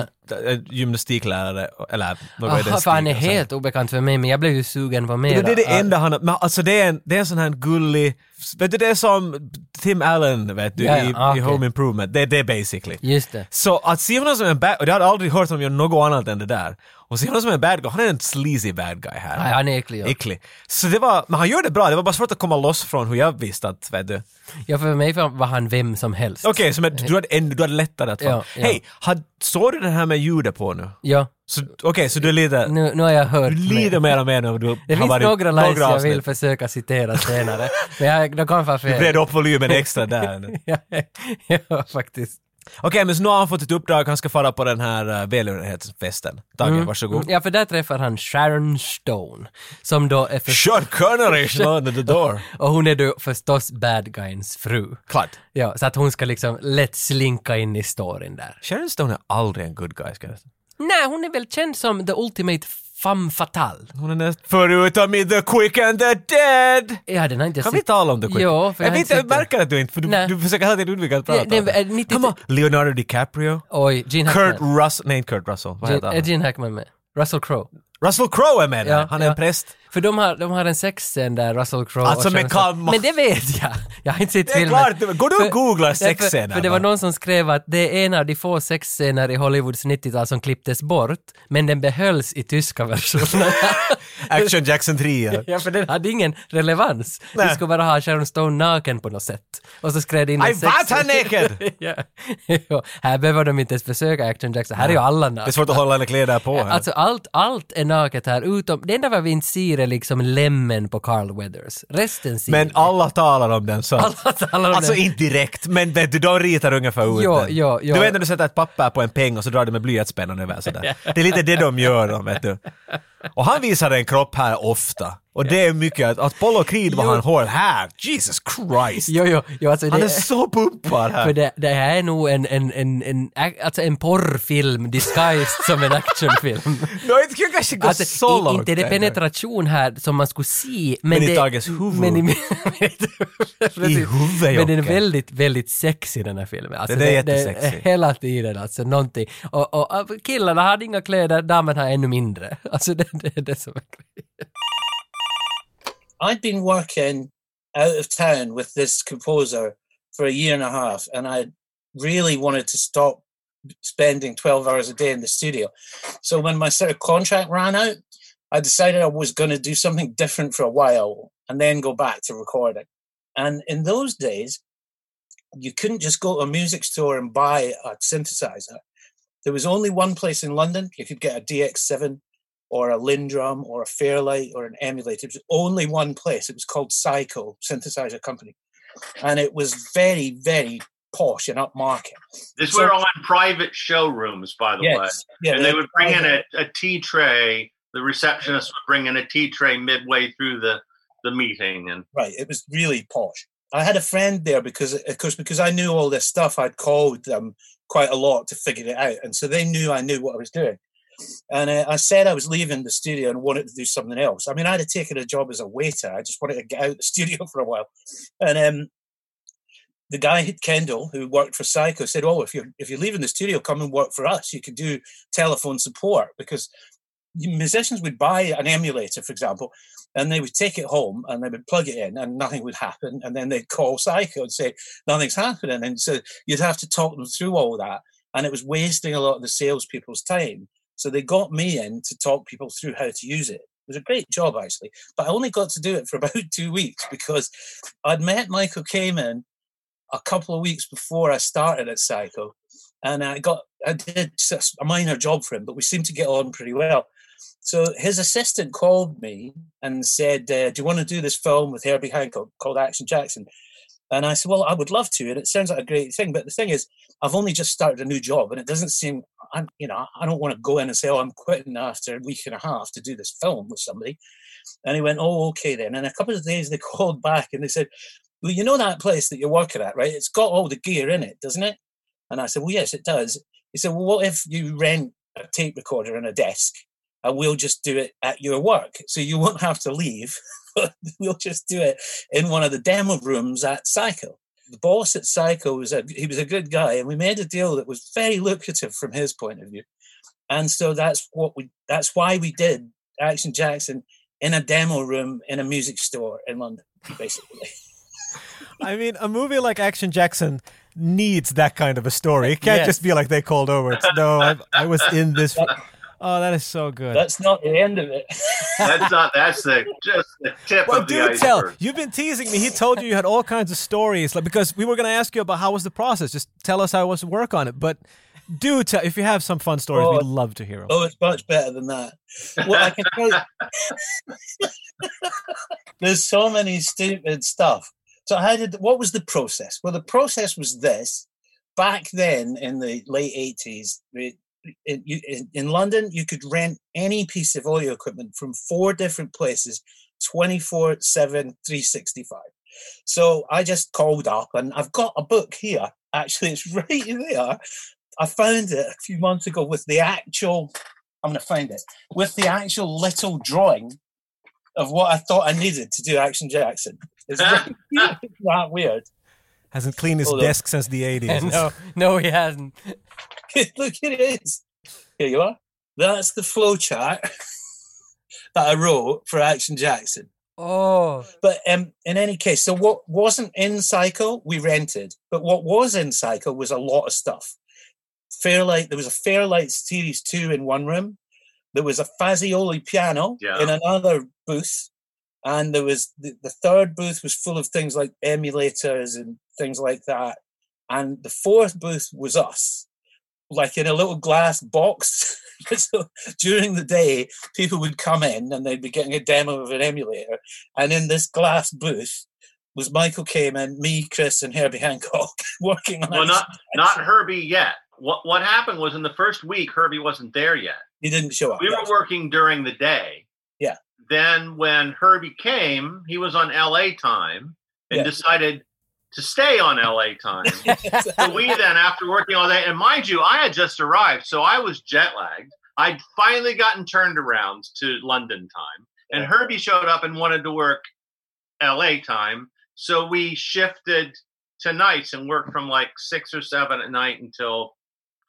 en gymnastiklärare, eller vad är
Ah. Aha,
det? alltså.
för han är helt obekant för mig, men jag blev ju sugen på mera.
Det, det är det
Ah,
enda han har, men alltså det är, en, det är en sån här gullig, vet du det är som Tim Allen vet du
Ja, ja,
i,
ah,
i
okej.
Home Improvement, det är det basically.
Just det.
Så att se honom som en bad, och jag har aldrig hört honom göra något annat än det där. Och se honom som en bad guy, han är en sleazy bad guy här.
Nej, han är äcklig. Ja.
Äcklig. Så det var, men han gör det bra, det var bara svårt att komma loss från hur jag visste att, vet du.
ja, för mig var han vem som helst.
Okej, så men du hade, en- du hade lättare att
Ja,
ja,
ja.
Hej, had- såg du den här med ljudet på nu?
Ja,
Så- Okej, så du är lite,
nu, nu har jag hört.
du
mer.
lider mer och mer nu. Du
Det
har
finns
varit
några lines jag
avsnitt.
vill försöka citera senare, men jag, de kommer fan
Du
fel.
vred upp volymen extra där.
ja, ja, faktiskt.
Okej, men så nu har han fått ett uppdrag, han ska fara på den här uh, välgörenhetsfesten. Tage, varsågod.
Mm, Ja, för där träffar han Sharon Stone, som då är för...
Kör Connery, slå under the door.
Och hon är då förstås bad guyns fru.
Klart.
Ja, så att hon ska liksom lätt slinka in i storyn där.
Sharon Stone är aldrig en good guy, ska jag säga.
Nej, hon är väl känd som the ultimate femme fatale.
Hon är näst... Förutom i The Quick and the Dead!
Ja, den har inte jag
Kan vi
sett.
tala om The Quick?
Jo, för
jag
har
vet, jag
sett den.
märker att du inte, för du,
Nej.
du försöker hela tiden undvika att prata
Det- det-
om det.
är 90
Come on, Leonardo DiCaprio?
Oj, Gene
Kurt
Hackman.
Russell, nej inte Kurt Russell, vad heter
Gene, är
han?
Gene Hackman med? Russell Crowe.
Russell Crowe är med där,
Ja,
han är
ja.
en präst.
För de har, de har en sexscen där Russell Crowe
Alltså,
och
men
Sharon Stone-
come on.
Men det vet jag! Jag har inte sett
Det är
filmen.
klart, det- går du och
För-
googlar
ja,
sexscener
För, för det var
bara?
någon som skrev att det är en av de få sexscener i Hollywoods 90-tal som klipptes bort, men den behölls i tyska versionen.
Action Jackson 3.
Ja, för den hade ingen relevans.
Nej.
Vi skulle bara ha Sharon Stone naken på något sätt. Och så skrev det in en
I
sex-
was her naked!
ja. Ja, Här behöver de inte ens försöka Action Jackson, här är ju alla
Det är
nakna.
svårt att hålla alla kläder på. här.
Alltså allt, allt är naket här, utom, det enda vad vi inte ser är liksom lämmen på Carl Weathers. Resten ser
Men alla talar om den så.
Alla talar om
alltså
den.
inte direkt, men vet du, de ritar ungefär ut
Jo,
den.
jo, jo.
Du vet när du sätter ett papper på en peng och så drar du med blyertsspennan över sådär. Det är lite det de gör de, vet du. Och han visar en kropp här ofta. Och det är mycket att, att Polo Creed vad
Jo.
han har här, Jesus Christ!
Jo, jo, jo alltså
Han
det,
är så pumpad här!
för det, det här är nog en, en, en, en, alltså en porrfilm disguised som en actionfilm.
No, det kan kanske gå
Alltså,
så
i,
långt.
inte är det
tänker jag.
penetration här som man skulle se, men,
Men i
det,
Tages huvud.
Men i, men
I huvudet,
Men den är
Jocke.
väldigt, väldigt sexig den här filmen. Alltså,
Den är
Det
jättesexig.
är hela tiden alltså någonting. Och, och, och killarna har inga kläder, damen har ännu mindre. Alltså det, det är det som är grejen.
I'd been working out of town with this composer for a year and a half, and I really wanted to stop spending 12 hours a day in the studio. So when my sort of contract ran out, I decided I was going to do something different for a while and then go back to recording. And in those days, you couldn't just go to a music store and buy a synthesizer. There was only one place in London you could get a DX7 or a Lindrum or a Fairlight or an emulator. It was only one place. It was called Psycho Synthesizer Company. And it was very, very posh and upmarket.
This were all in private showrooms, by the way.
Yeah,
Oh, and they would bring in
private.
a, a tea tray. The receptionist would bring in a tea tray midway through the, the meeting. And
Right. It was really posh. I had a friend there because, of course, because I knew all this stuff, I'd called them quite a lot to figure it out. And so they knew I knew what I was doing. And uh, I said I was leaving the studio and wanted to do something else. I mean, I'd have taken a job as a waiter. I just wanted to get out of the studio for a while. And um, the guy, Kendall, who worked for Psycho, said, "Oh, if you're if you're leaving the studio, come and work for us. You could do telephone support because musicians would buy an emulator, for example, and they would take it home and they would plug it in and nothing would happen. And then they'd call Psycho and say, nothing's happening. And so you'd have to talk them through all that. And it was wasting a lot of the salespeople's time. So they got me in to talk people through how to use it. It was a great job, actually. But I only got to do it for about two weeks because I'd met Michael Kamen a couple of weeks before I started at Psycho. And I got, I did s- a minor job for him, but we seemed to get on pretty well. So his assistant called me and said, uh, Do you want to do this film with Herbie Hancock called Action Jackson? And I said, Well, I would love to. And it sounds like a great thing. But the thing is, I've only just started a new job and it doesn't seem, I'm, you know, I don't want to go in and say, Oh, I'm quitting after a week and a half to do this film with somebody. And he went, Oh, okay then. And a couple of days they called back and they said, Well, you know that place that you're working at, right? It's got all the gear in it, doesn't it? And I said, Well, yes, it does. He said, Well, what if you rent a tape recorder and a desk? and we'll just do it at your work. So you won't have to leave. we'll just do it in one of the demo rooms at Psycho. The boss at Psycho was a he was a good guy, and we made a deal that was very lucrative from his point of view. And so that's what we that's why we did Action Jackson in a demo room in a music store in London, basically.
I mean, a movie like Action Jackson needs that kind of a story. It can't
Yes.
just be like they called over. It's, no, I, I was in this. Oh, that is so good.
that's not the end of it.
that's not, that's the, just the tip
Well,
of the
do tell.
iceberg.
You've been teasing me. He told you you had all kinds of stories, like because we were going to ask you about how was the process. Just tell us how it was to work on it. But do tell if you have some fun stories.
Oh.
We'd love to hear them.
Oh, it's much better than that. Well, I can tell you, there's so many stupid stuff. So, how did what was the process? Well, the process was this: back then in the late '80s, we- in, you- in- in London, you could rent any piece of audio equipment from four different places, 24 7, 365. So I just called up and I've got a book here. Actually, it's right there. I found it a few months ago with the actual, I'm going to find it, with the actual little drawing of what I thought I needed to do Action Jackson. It's right here. It's not weird.
Hasn't cleaned his
Hold on.
desk since the eighties.
No, no he hasn't.
Look, here it is. Here you are. That's the flow chart that I wrote for Action Jackson.
Åh,
But um, in any case, so what wasn't in Psycho, we rented. But what was in Psycho was a lot of stuff. Fairlight, there was a Fairlight Series 2 in one room. There was a Fazioli piano
Yeah.
in another booth. And there was the, the third booth was full of things like emulators and things like that. And the fourth booth was us, like in a little glass box. so during the day, people would come in and they'd be getting a demo of an emulator. And in this glass booth was Michael Kamen, me, Chris, and Herbie Hancock working on
Well,
it.
not, not Herbie yet. What, what happened was in the first week, Herbie wasn't there yet.
He didn't show up.
We were
yes.
working during the day.
Yeah.
Then when Herbie came, he was on LA time and
Yeah.
decided to stay on LA time. so we then, after working all day, and mind you, I had just arrived, so I was jet lagged. I'd finally gotten turned around to London time, and Herbie showed up and wanted to work LA time. So we shifted to nights and worked from like six or seven at night until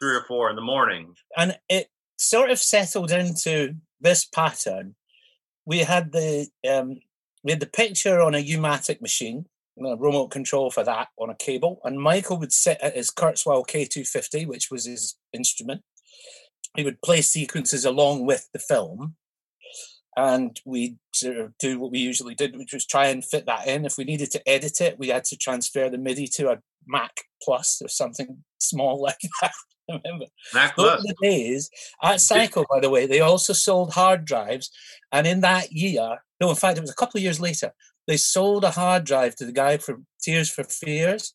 three or four in the morning.
and it sort of settled into this pattern. We had the um, we had the picture on a U-matic machine, and a remote control for that on a cable, and Michael would sit at his Kurzweil K250, which was his instrument. He would play sequences along with the film, and we'd sort of do what we usually did, which was try and fit that in. If we needed to edit it, we had to transfer the MIDI to a Mac Plus or something small like that. I remember
Mac
those
Plus.
were the days at Cycle, by the way, they also sold hard drives. And in that year, no, in fact, it was a couple of years later, they sold a hard drive to the guy from Tears for Fears,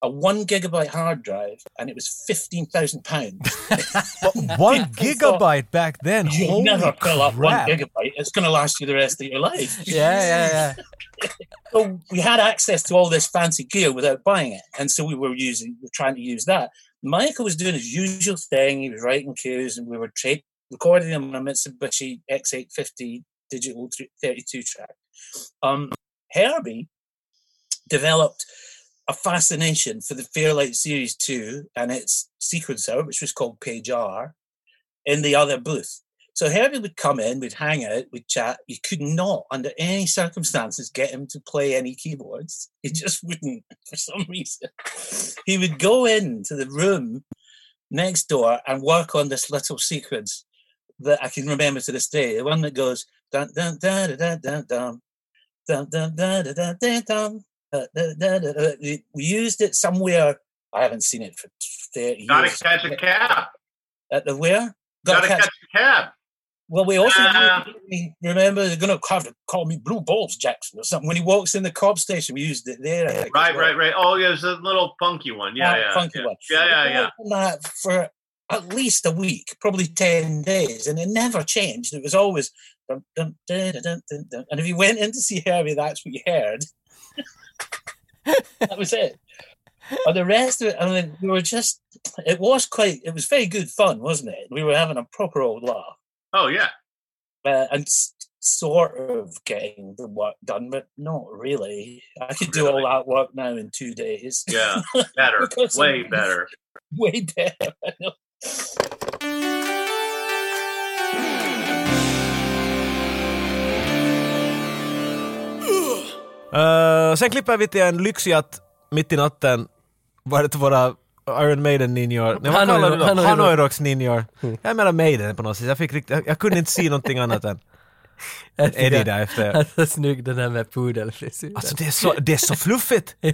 a one gigabyte hard drive, and it was fifteen thousand pounds.
But one
Yeah.
gigabyte back then.
You
Holy
never fill up one
crap.
gigabyte; it's going to last you the rest of your life.
Yeah, yeah, yeah.
So we had access to all this fancy gear without buying it, and so we were using, we were trying to use that. Michael was doing his usual thing; he was writing cues, and we were tra- recording them on a Mitsubishi X850 digital thr- 32 track. Um, Herbie developed a fascination for the Fairlight Series 2 and its sequencer, which was called Page R, in the other booth. So Herbie would come in, we'd hang out, we'd chat. You could not, under any circumstances, get him to play any keyboards. He
Mm.
just wouldn't for some reason. He would go into the room next door and work on this little sequence that I can remember to this day. The one that goes dun dun da da da dun dun dun dun da da da da dun. da, da, da, da, da." We we used it somewhere. I haven't seen it for 30
Gotta
years.
catch a cab.
At the where?
Gotta catch a cab.
Well, we also
Ah.
we remember they're going to have to call me Blue Balls Jackson or something. When he walks in the cob station, we used it there. I think, as
Right,
well.
right, right. Oh, yeah, it was a little funky one. Yeah,
That
yeah.
funky
yeah.
one.
Yeah, yeah,
We
yeah.
worked on That for at least a week, probably ten days, and it never changed. It was always dum, dum, da, da, dum, dum, dum. and if you went in to see Herbie, that's what you heard. that was it. But the rest of it, I mean, we were just, it was quite, it was very good fun, wasn't it? We were having a proper old laugh.
Oh, yeah.
uh, and s- sort of getting the work done, but not really. I could do all
Really?
that work now in two days.
Yeah. Better.
Because-
Way better.
way better.
Eh, sen klipper vi till en Lyxiat mitt i natten. Var det till våra Iron Maiden-ninjor? Nej, vad
Hanoi-
kallar du dem?
Hanoi-
Hanoi Rocks ninjor.
Mm.
Jag menar Maiden på något sätt. Jag, fick riktigt, jag, jag kunde inte se någonting annat än
Jag tycker
Eddie
att-
där efter.
Alltså snygg den här med pudelfrisyren.
Alltså det är så, det är så fluffigt!
ja,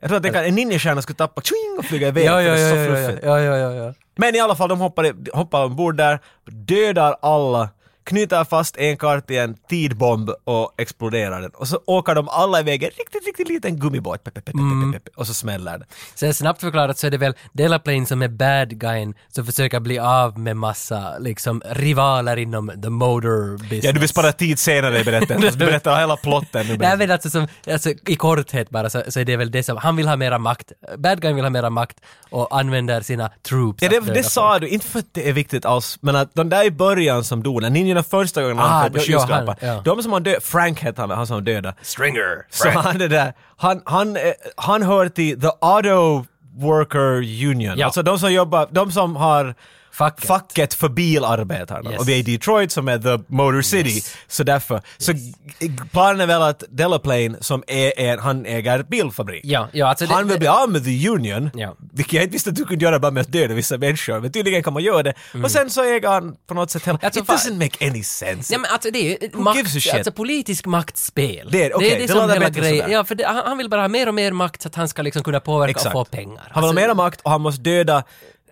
Jag tror att det kan, en ninjastjärna skulle tappa tjing, och flyga iväg,
ja, ja, ja,
för det är så
ja, ja,
fluffigt.
ja, ja, ja, ja.
Men i alla fall, de hoppar, i- hoppar ombord där, dödar alla, knyter fast en kar till en tidbomb och exploderar den. Och så åker de alla iväg i en riktigt, riktigt liten gummibåt. Pep, pep, pep,
Mm.
pep, pep, pep, Och så smäller det.
Sen snabbt förklarat så är det väl Delaplane som är bad guyen som försöker bli av med massa liksom rivaler inom the motor business.
Ja, du vill spara tid senare i berättelsen. så Du berättar hela plotten nu.
Nej men alltså, som, alltså i korthet bara så, så är det väl det som, han vill ha mera makt, bad guyen vill ha mera makt och använder sina troops
Ja,
att
det,
döda
det
folk.
sa du, inte för att det är viktigt alls, men att de där i början som dog, när ninjorna första gången
Ah,
anföll på
jo- Johan,
skyskrapan,
ja.
de som har dödat, Frank hette han, han som dödade,
Stringer!
Så han det där, han, han, eh, han hör till The Auto Worker Union.
Ja.
Alltså de som jobbar, de som har
Facket.
facket för bilarbetarna.
Yes.
Och vi är i Detroit som är The Motor City. Så därför. Så g- planen är väl att Delaplane som är, är han äger bilfabrik.
Ja, ja alltså det,
Han vill bli av med the union,
Ja.
vilket jag inte visste att du kunde göra bara med att döda vissa människor, men tydligen kan man göra det. Och sen så äger han på något sätt hela...
Alltså,
It
Mm. fan-
doesn't make any sense.
Nej men alltså det är ju
Who gives a
makt,
shit?
alltså politisk maktspel.
Det är- okej,
det
det
som
låter
hela
bättre
grejen.
sådär.
Ja, för det, han, han vill bara ha mer och mer makt så att han ska liksom kunna påverka
Exakt.
och få pengar.
Han vill ha mera makt och han måste döda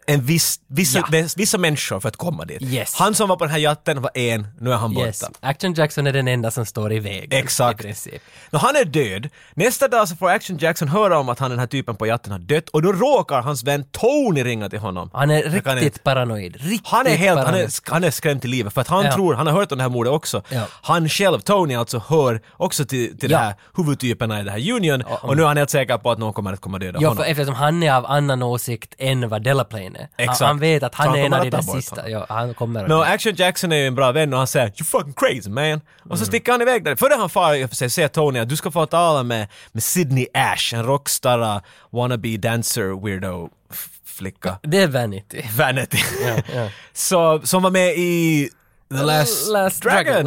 en viss, vissa,
Ja.
det- vissa människor för att komma dit.
Yes.
Han som var på den här jatten var en, nu är han borta.
Yes. Action Jackson är den enda som står i vägen.
Exakt.
I princip.
Nå, han är död. Nästa dag så får Action Jackson höra om att han den här typen på jatten har dött och då råkar hans vän Tony ringa till honom.
Han är
Jag kan inte-
riktigt paranoid. Riktigt
Han är helt, han
paranoid.
är, han är skrämd till livet för att han
Ja.
tror, han har hört om det här mordet också.
Ja.
Han själv, Tony alltså, hör också till, till
Ja.
de här huvudtyperna i det här Union och nu är han helt säker på att någon kommer att komma döda
Ja, för
honom.
eftersom han är av annan åsikt än vad Delaplane är. Han,
Exakt.
han vet att
Så
han,
han
är en
kommer
av de
att ta
där
bort
sista.
honom.
Ja, han kommer att...
No, Action Jackson är ju en bra vän och han säger “You fucking crazy man” och
Mm.
så sticker han iväg där. Före han far i och för sig säger Tony att du ska få tala med, med Sydney Ash, en rockstar, uh, wannabe dancer, weirdo f- flicka.
Det är Vanity.
Vanity. Så, som var med i The Last, Dragon,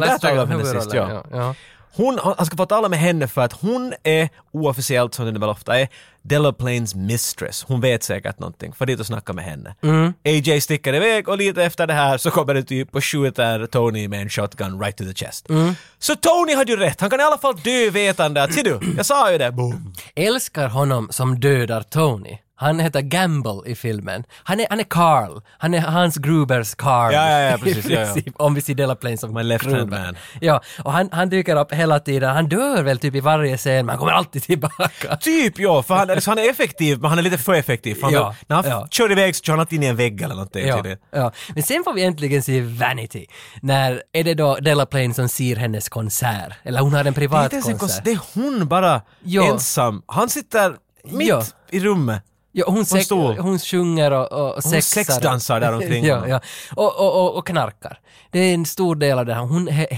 Last
Där talade
Dragon,
vi om henne sist,
huvudrollen,
ja.
ja.
Hon, han ska få tala med henne för att hon är oofficiellt, som det väl ofta är, Delaplanes mistress. Hon vet säkert någonting. För dit och snacka med henne.
Mm.
AJ sticker iväg och lite efter det här så kommer det typ och skjuter Tony med en shotgun right to the chest.
Mm.
Så Tony hade ju rätt. Han kan i alla fall dö vetande att, ser du, jag sa ju det. Boom.
Älskar honom som dödar Tony. Han heter Gamble i filmen. Han är, han är Carl. Han är Hans Grubers Carl.
Ja, ja, ja,
i
precis, ja, ja.
princip, Om vi ser Delaplane som
My left hand
Gruber.
man.
Ja, och han, han dyker upp hela tiden. Han dör väl typ i varje scen, men han kommer alltid tillbaka.
Typ ja, för han, alltså, han är effektiv men han är lite för effektiv. För han,
Ja,
när han
ja.
kör iväg så kör han alltid in i en vägg eller någonting. typ.
Ja,
tydligen.
ja. Men sen får vi äntligen se Vanity. När är det då Delaplane som ser hennes konsert? Eller hon har en
Det är
privat
inte ens en
konsert.
konsert. Det är hon bara
Ja.
ensam. Han sitter mitt
Ja.
i rummet.
Ja, hon, sex,
stol.
hon sjunger och, och och
Hon
sexar.
sexdansar där omkring
ja,
honom.
ja. Och, och, och, och knarkar. Det är en stor del av det här. Hon är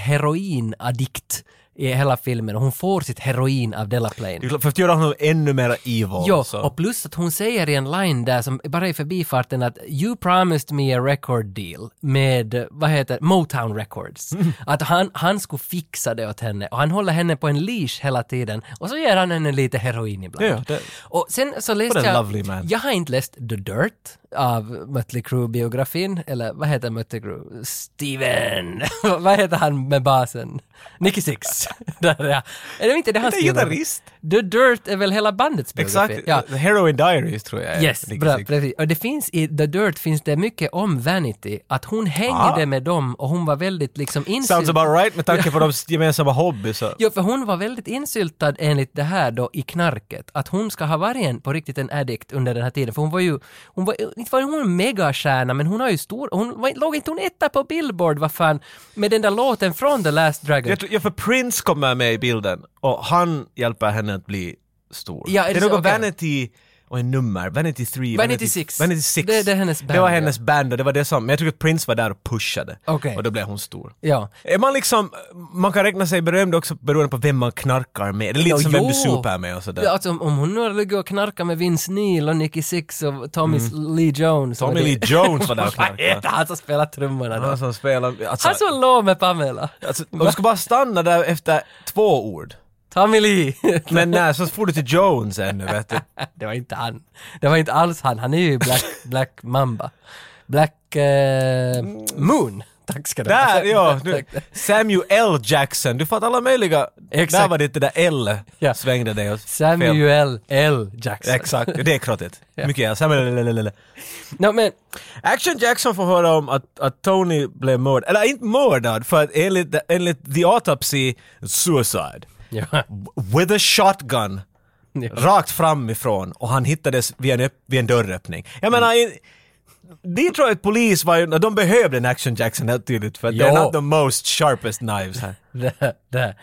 heroinaddikt i hela filmen och hon får sitt heroin av Delaplane.
Det är klart, För att göra honom ännu mer evil.
Ja,
så.
och plus att hon säger i en line där som bara i förbifarten att “You promised me a record deal” med, eh, vad heter Motown Records. Att han, han skulle fixa det åt henne och han håller henne på en leash hela tiden och så ger han henne lite heroin ibland.
Ja, det-
Och sen så läste
What a
jag...
lovely man.
Jag har inte läst The Dirt av Mötley Crüe-biografin, eller vad heter Mötley Crüe? Steven! vad heter han med basen? Nicky Six. Där, ja. Är det inte det han
Det är
skriver?
gitarrist.
The Dirt är väl hela bandets biografi?
Exakt.
Ja.
The Heroin Diaries tror jag är
Yes,
Nicky
bra,
Six.
precis. Och det finns i The Dirt finns det mycket om Vanity, att hon hängde
Ah.
med dem och hon var väldigt liksom insyltad.
Sounds about right med tanke på deras gemensamma hobby. Så.
Jo, för hon var väldigt insyltad enligt det här då i knarket, att hon ska ha varit en, på riktigt en addict under den här tiden, för hon var ju, hon var, inte var hon en megastjärna, men hon har ju stor, hon var, låg inte hon etta på Billboard, vad fan, med den där låten från The Last Dragon?
Jag tror, ja, för Prince kommer med i bilden och han hjälper henne att bli stor.
Ja, är
det
det
är
så?
något
Okej.
Vanity och en nummer, Vanity 3,
Vanity Six.
Vanity Six.
Det- det är hennes
Det
band,
var
ja.
hennes band och det var det som, men jag tycker att Prince var där och pushade.
Okej.
Och då blev hon stor.
Ja.
Är man liksom, man kan räkna sig berömd också beroende på vem man knarkar med. Det är lite
Ja,
som vem du
jo.
super med och sådär.
Ja, alltså, om, om hon nu har legat och knarkat med Vince Neil och Nicky Six och Tommy Lee Jones.
Mm. Tommy
och det-
Lee Jones var där och
Vad heter
knarkade.
han som spelar trummorna då?
Han som spelar... Alltså,
Han som låg med Pamela.
alltså, om du ska bara stanna där efter två ord.
Tommy Lee.
Men nej, så får du till Jones ännu vet du.
Det var inte han. Det var inte alls han. Han är ju Black, Black Mamba. Black eh, Moon. Tack ska du ha.
Mm. Där, ja! Nu, Samuel L. Jackson, du fattar alla möjliga...
Exakt.
Där var det det där L
Ja.
svängde dig åt fel.
Samuel L. Jackson.
Exakt, det är krottigt.
Ja.
Mycket L. Samuel L. L. L.
No, men,
Action Jackson får höra om att, att Tony blev mördad, eller inte mördad, för att enligt, enligt The Autopsy, suicide.
ja.
With a shotgun.
Ja.
Rakt framifrån och han hittades vid en, öpp- vid en dörröppning. Jag menar, i, Detroit polis var ju, de behövde en Action Jackson helt tydligt för att det
Ja.
är not the most sharpest knives här.
Där, där.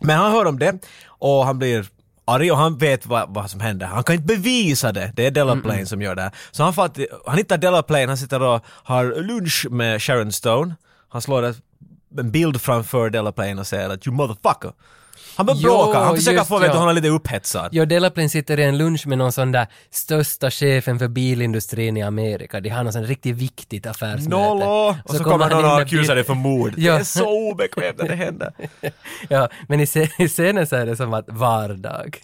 Men han hör om det och han blir arg och han vet vad, vad som händer. Han kan inte bevisa det. Det är Delaplane som gör det här. Så han, fatt, han hittar Delaplane, han sitter och har lunch med Sharon Stone. Han slår ett, en bild framför Delaplane och säger att “you motherfucker”. Han börjar
Jo,
bråka, han försöker
just
få vet
ja.
du, honom lite upphetsad.
Jo, Delaplane sitter i en lunch med någon sån där största chefen för bilindustrin i Amerika. De har någon sån riktigt viktigt affärsmöte.
Nollo! Och så, kommer någon och
in med bil-
accusar dig för mord.
Ja.
Det är så obekvämt när det händer.
Ja, men i, se- i scenen så är det som att vardag.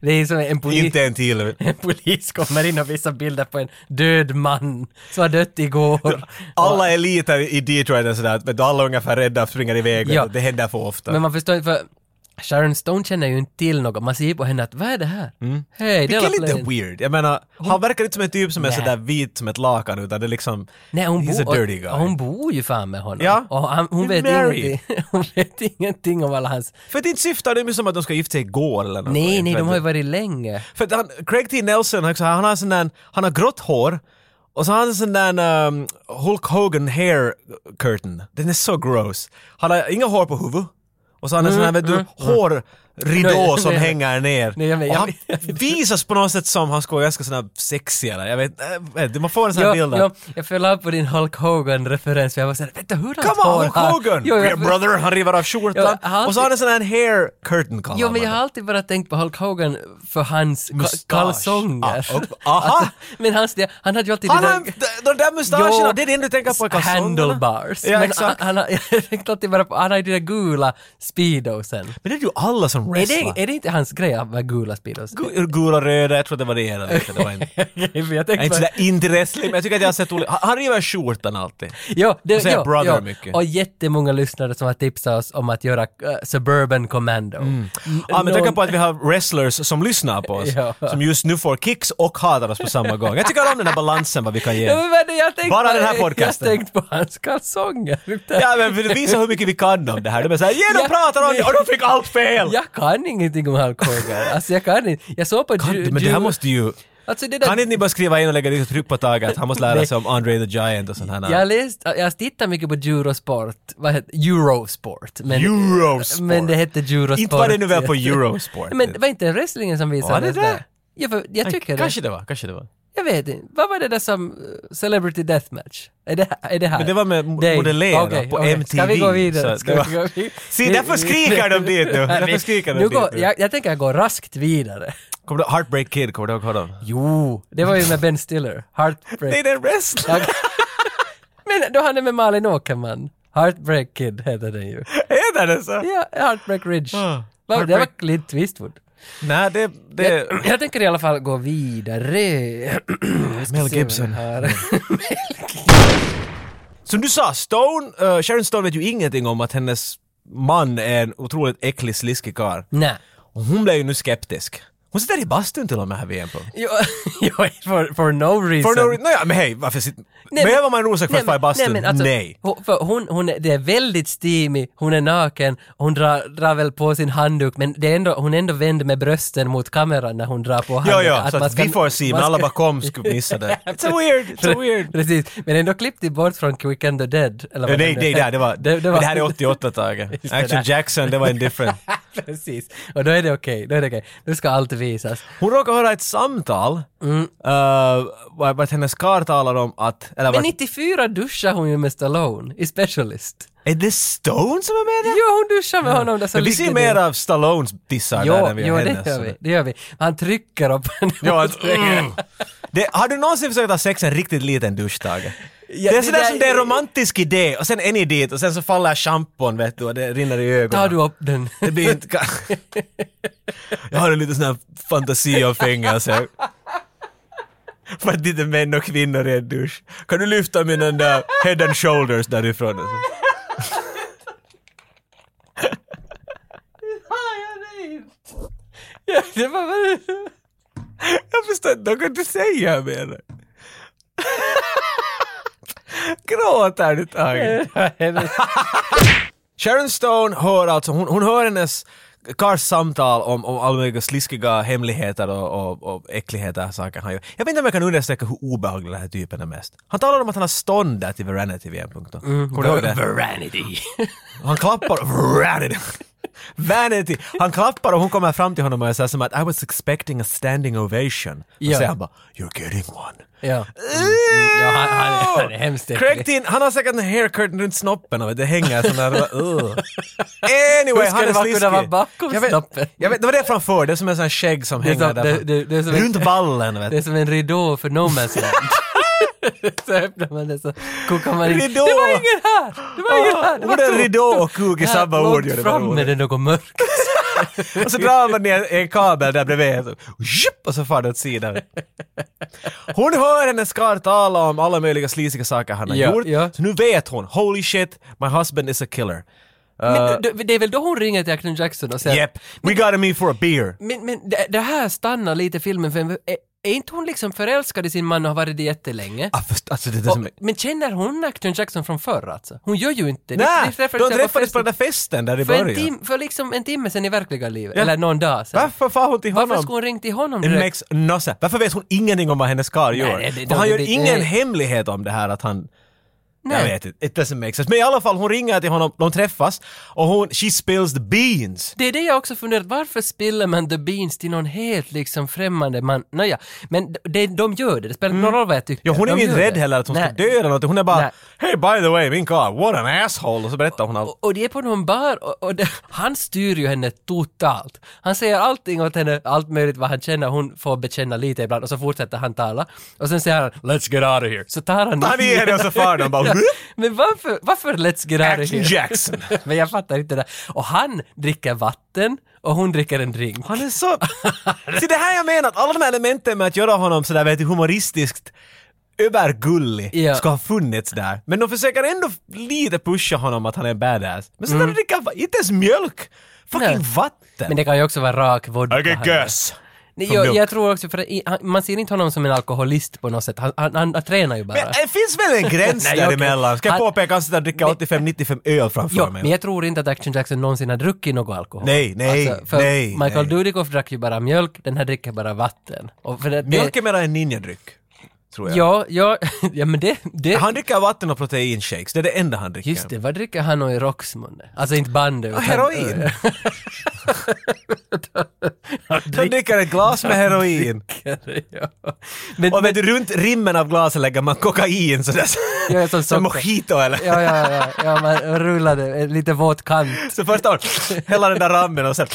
Det är som en polis...
Mm. Inte en till.
En polis kommer in och visar bilder på en död man som har dött igår.
Alla eliter i Detroit är sådär, att vet du, alla är ungefär rädda och springer iväg.
Ja.
Det händer för ofta.
Men man förstår inte, för Sharon Stone känner ju inte till något. Man ser ju på henne att vad är det här? Mm. Hej, det
Vilket är
är
lite
Laplace.
weird. Jag menar, han verkar inte som en typ som är
Nej.
sådär vit som ett lakan utan det är liksom...
Nej, hon,
he's
bo,
a dirty guy.
och hon bor ju fan med honom.
Ja.
Och han, hon,
He's
vet
married.
ingenting, hon vet ingenting om alla hans...
För att inte syftar det är ju som att de ska gifta sig igår eller något.
Nej, nej,
Inte
de har ju
vet
varit länge.
För att han, Craig T. Nelson, han också- han har sån där, han har grått hår och så har han sån där um, Hulk Hogan hair curtain. Den är så gross. Han har inga hår på huvudet. Och så har han en sån här, vet du,
Mm, Nej,
hårridå
jag
som
menar-
hänger ner.
Nej, jag menar-
och han
jag menar-
visas på något sätt som han ska vara ganska sån här sexig eller, jag vet, äh, vet du, man får en sån här bild av...
jag föll av på din Hulk Hogan-referens för jag var såhär, vänta hur han
Come on, Hulk Hogan!
Jo,
Your
jag,
brother, han river av skjortan.
Ja, han-
och så har han en sån här hair curtain kallar
jo, men
man
jag
det.
har alltid bara tänkt på Hulk Hogan för hans ka-
Mustasch.
kalsonger. Alltså,
Ah, och- aha.
men hans, det- han hade ju alltid
Han
det
har, de där mustascherna, det är det enda du tänker på i kalsongerna.
Handlebars.
Ja,
men
exakt.
Han, han, har- jag tänkte alltid bara på, han har ju de där gula speedosen.
Men det är ju alla som
Är
wrestlar.
det, är det inte hans grej att vara gula speedos?
Gu- Gula, röda, jag tror det varierar lite. Det var inte, jag
Okej, för jag
är
tänkte
inte
bara,
sådär inte wrestling, men jag tycker att jag har sett olika. Han- Han river skjortan alltid.
jo, det,
Och säger
jo,
brother
jo.
mycket.
Och jättemånga lyssnare som har tipsat oss om att göra eh, Suburban Commando.
Mm.
Mm.
Ja, men
Någon-
tänk på att vi har wrestlers som lyssnar på oss,
Ja.
som just nu får kicks och hatar oss på samma gång. Jag tycker om den här balansen vad vi kan
Ja,
ge.
men vad är det jag tänkte,
Bara den här podcasten.
Jag tänkte på hans kalsonger.
Ja, men vill visa hur mycket vi kan om det här. De är såhär, ja, de
Ja,
pratar om det
men-
och de fick allt fel!
Jag kan ingenting om Hulk Hogan. Alltså jag kan inte. Jag såg på...
Kan,
Ju-
du- men det här
Ju-
måste ju...
Alltså det där...
Kan inte ni bara skriva in och lägga lite tryck på taget att han måste lära
Nej.
sig om Andre the Giant och sånt här?
Jag har läst, jag har tittat mycket på Eurosport, vad heter Eurosport. Men,
Eurosport.
Men det hette Eurosport.
Inte var det nu väl på Eurosport?
Men var inte wrestlingen som visades
det det?
där? Ja, för jag tycker
Kanske
det.
det var, kanske det var.
Jag vet inte. Vad var det där som eh, Celebrity Deathmatch? Är det, är det här?
Men det var med mo-
Dave.
modellera
Okej,
på
okej.
MTV.
Ska vi gå
så
vidare?
att
Ska
det
vi
var-
gå vidare?
Se, därför skriker de dit nu. Därför skriker de
nu
dit
går,
nu.
jag, jag tänker jag går raskt vidare.
Kommer du Heartbreak Kid, kommer du ihåg honom?
Jo, det var ju med Ben Stiller. Heartbreak.
Nej, det är en wrestler!
Jag- Men då han är med Malin Åkerman. Heartbreak Kid heter den ju.
Heter det så?
Ja, Heartbreak Ridge.
Ah,
Va, Det var
Heartbreak-
Clint Eastwood.
Nej, det... det
Jag, jag tänker i alla fall gå vidare.
Mel Gibson.
Här.
Som du sa, Stone, eh, Sharon Stone vet ju ingenting om att hennes man är en otroligt äcklig, sliskig karl.
Nej.
Och hon blev ju nu skeptisk. Hon sitter i bastun till och med här VM på.
Jo, jo, for, for no reason.
For no reason. Nåja, men hej, varför sitter... Behöver man en orsak för att vara i bastun? Nej.
Hon, alltså, för hon, hon, är- det är väldigt steamy, hon är naken, hon drar, drar väl på sin handduk men det är ändå, hon är ändå vänd med brösten mot kameran när hon drar på
Ja,
handduken.
ja, så
man
att vi
ska-
får se, men
man
alla
ska-
bakom skulle missa det. It's a weird, it's a weird.
Precis, men ändå klippte bort från Quick and the Dead. Eller
Nej,
vad
nej,
nu-
nej, det, det, var, det, det här är 88 taget.
Just det
Action
där.
Jackson, det var en different.
Precis, och då är det okej, då är det okej. Nu ska allt visas.
Hon råkar höra ett samtal, mm. vart vart hennes karl talar om att... Eller
Men
vart,
94 duschar hon ju med Stallone i Specialist.
är det Stone som är med där?
Jo, hon duschar med honom där så
Men vi ser
ligger
mer
det.
av Stallones dissar där
Jo,
än vi
jo
har
det,
hennes.
gör vi, det gör vi. Han trycker upp henne.
Ja,
mot
att,
väggen.
mm. det, har du någonsin försökt ha sex i en riktigt liten dusch, Tage?
Ja,
det är
det
sådär
där-
som det är en romantisk idé och sen är ni dit och sen så faller schampon vet du och det rinner i ögonen.
Tar du upp den?
Det blir inte... ka- Jag har en liten sån här fantasi om fängelse. För att inte män och kvinnor är en dusch. Kan du lyfta min den där head and shoulders därifrån?
Ja, det var väl...
Jag förstår inte, de kan inte säga mer. Gråter du Tage? Sharon Stone hör alltså, hon, hon hör hennes Kars samtal om, om alla möjliga sliskiga hemligheter och, och, och äckligheter saker han gör. Jag vet inte om jag kan understryka hur obehaglig den här typen är mest. Han talar om att han har stånd där till Veranity vid en punkt. då. Kommer du ihåg det?
Veranity.
Han klappar... Vanity. Vanity! Han klappar och hon kommer fram till honom och säger som att I was expecting a standing ovation. Och
Ja.
säger han bara You're getting one.
Ja. Ja, han, han, är, han är hemskt
Craig
äcklig.
Dean, han har säkert en hair curtain runt snoppen och det hänger sån där... Uh.
Hur
Anyway,
ska
han
det
är
vara
sliskig.
kunna vara bakom
jag vet,
snoppen?
Jag vet, det var det framför, det är som en sån här skägg som
Det är
hänger
som-
där.
det- det- det är som en-
runt ballen vet
Det är
du.
som en ridå för No Man's Land. så öppnar man det så kokar man in.
Ridå!
Det var ingen här! Det var ingen här!
Både
tomt.
ridå och kuk i
Här,
samma
långt
ord gör det bara
fram
roligt.
med det något mörkt.
Och så drar man ner en kabel där bredvid. Så, zhup, och så far det åt sidan. Hon hör hennes karl tala om alla möjliga slisiga saker han har
Ja,
gjort.
ja.
Så nu vet hon, holy shit, my husband is a killer.
Men d- det är väl då hon ringer till Action Jackson och säger
Yep, we got him in for a beer.
Men, men det, det här stannar lite filmen för är, är inte hon liksom förälskad i sin man och har varit det jättelänge?
Ah, först- Alltså det är det
Och,
som är...
men känner hon Action Jackson från förr alltså? Hon gör ju inte det.
Nej,
Ni träffades
de
där
träffades på
festen
den där festen där i
för, en
början.
tim, för liksom en timme sedan i verkliga livet,
Ja.
eller någon dag sedan.
Varför far hon till
Varför
honom?
skulle hon ringt till honom
It
direkt?
makes no sense. Varför vet hon ingenting om vad hennes karl gör?
det- det-
För han
det-
gör
det-
ingen
det-
hemlighet om det här att han...
Nej.
Jag vet inte, it doesn't make sense. Men i alla fall, hon ringer till honom, de träffas och hon, she spills the beans.
Det är det jag också funderat, varför spiller man the beans till någon helt liksom främmande man? Nåja, men d- det, de gör det, det spelar ingen roll vad jag tycker.
Mm. Ja, hon är
de
ju inte
gör
rädd
det.
heller att hon
Nej.
ska dö eller något. Hon är bara
Nej.
“Hey by the way, min karl, what an asshole” och så berättar hon allt.
Och, och det är på någon bar och, och det, han styr ju henne totalt. Han säger allting åt henne, allt möjligt vad han känner, hon får bekänna lite ibland och så fortsätter han tala. Och sen säger han “Let's get out of here”. Så tar han
Han är det och så far de bara
Ja,
"Whoop,
Men varför, varför “Let's get out of
Action
here”?
Jackson.
Men jag fattar inte det. Och han dricker vatten och hon dricker en drink.
Han är så... Så det här jag menar, att alla de här elementen med att göra honom sådär vet du, humoristiskt övergullig
Ja.
ska ha funnits där. Men de försöker ändå lite pusha honom att han är badass. Men sen när du dricker va- inte ens mjölk! Fucking
Mm. Nej.
vatten!
Men det kan ju också vara rak vodka.
I
här.
get gas!
Nej,
Som
jag,
milk.
jag tror också, för i- han, man ser inte honom som en alkoholist på något sätt. Han, han, han, tränar ju bara.
Men det finns väl en gräns
Nej, okej.
däremellan? Ska jag
Han-
påpeka att han sitter och dricker 85-95 öl framför
Jo,
mig?
men jag tror inte att Action Jackson någonsin har druckit någon alkohol. Alltså,
Nej, nej,
för
nej,
Michael
nej.
Dudikoff drack ju bara mjölk, den här dricker bara vatten. Och för det, det,
Mjölk är mera en ninjadryck, tror jag.
Ja, ja, ja men det... det
Han dricker vatten och proteinshakes, det är det enda han dricker.
Just det, vad dricker han och i Roxmunde? Alltså inte bandy utan...
heroin. Han dricker ett glas med heroin.
ja. Men, men,
Och vet du, runt rimmen av glasen lägger man kokain sådär.
Ja, som socker.
mojito eller?
ja, ja, ja, ja, man rullade eh, lite våt kant.
Så första gången, hela den där rammen och sen...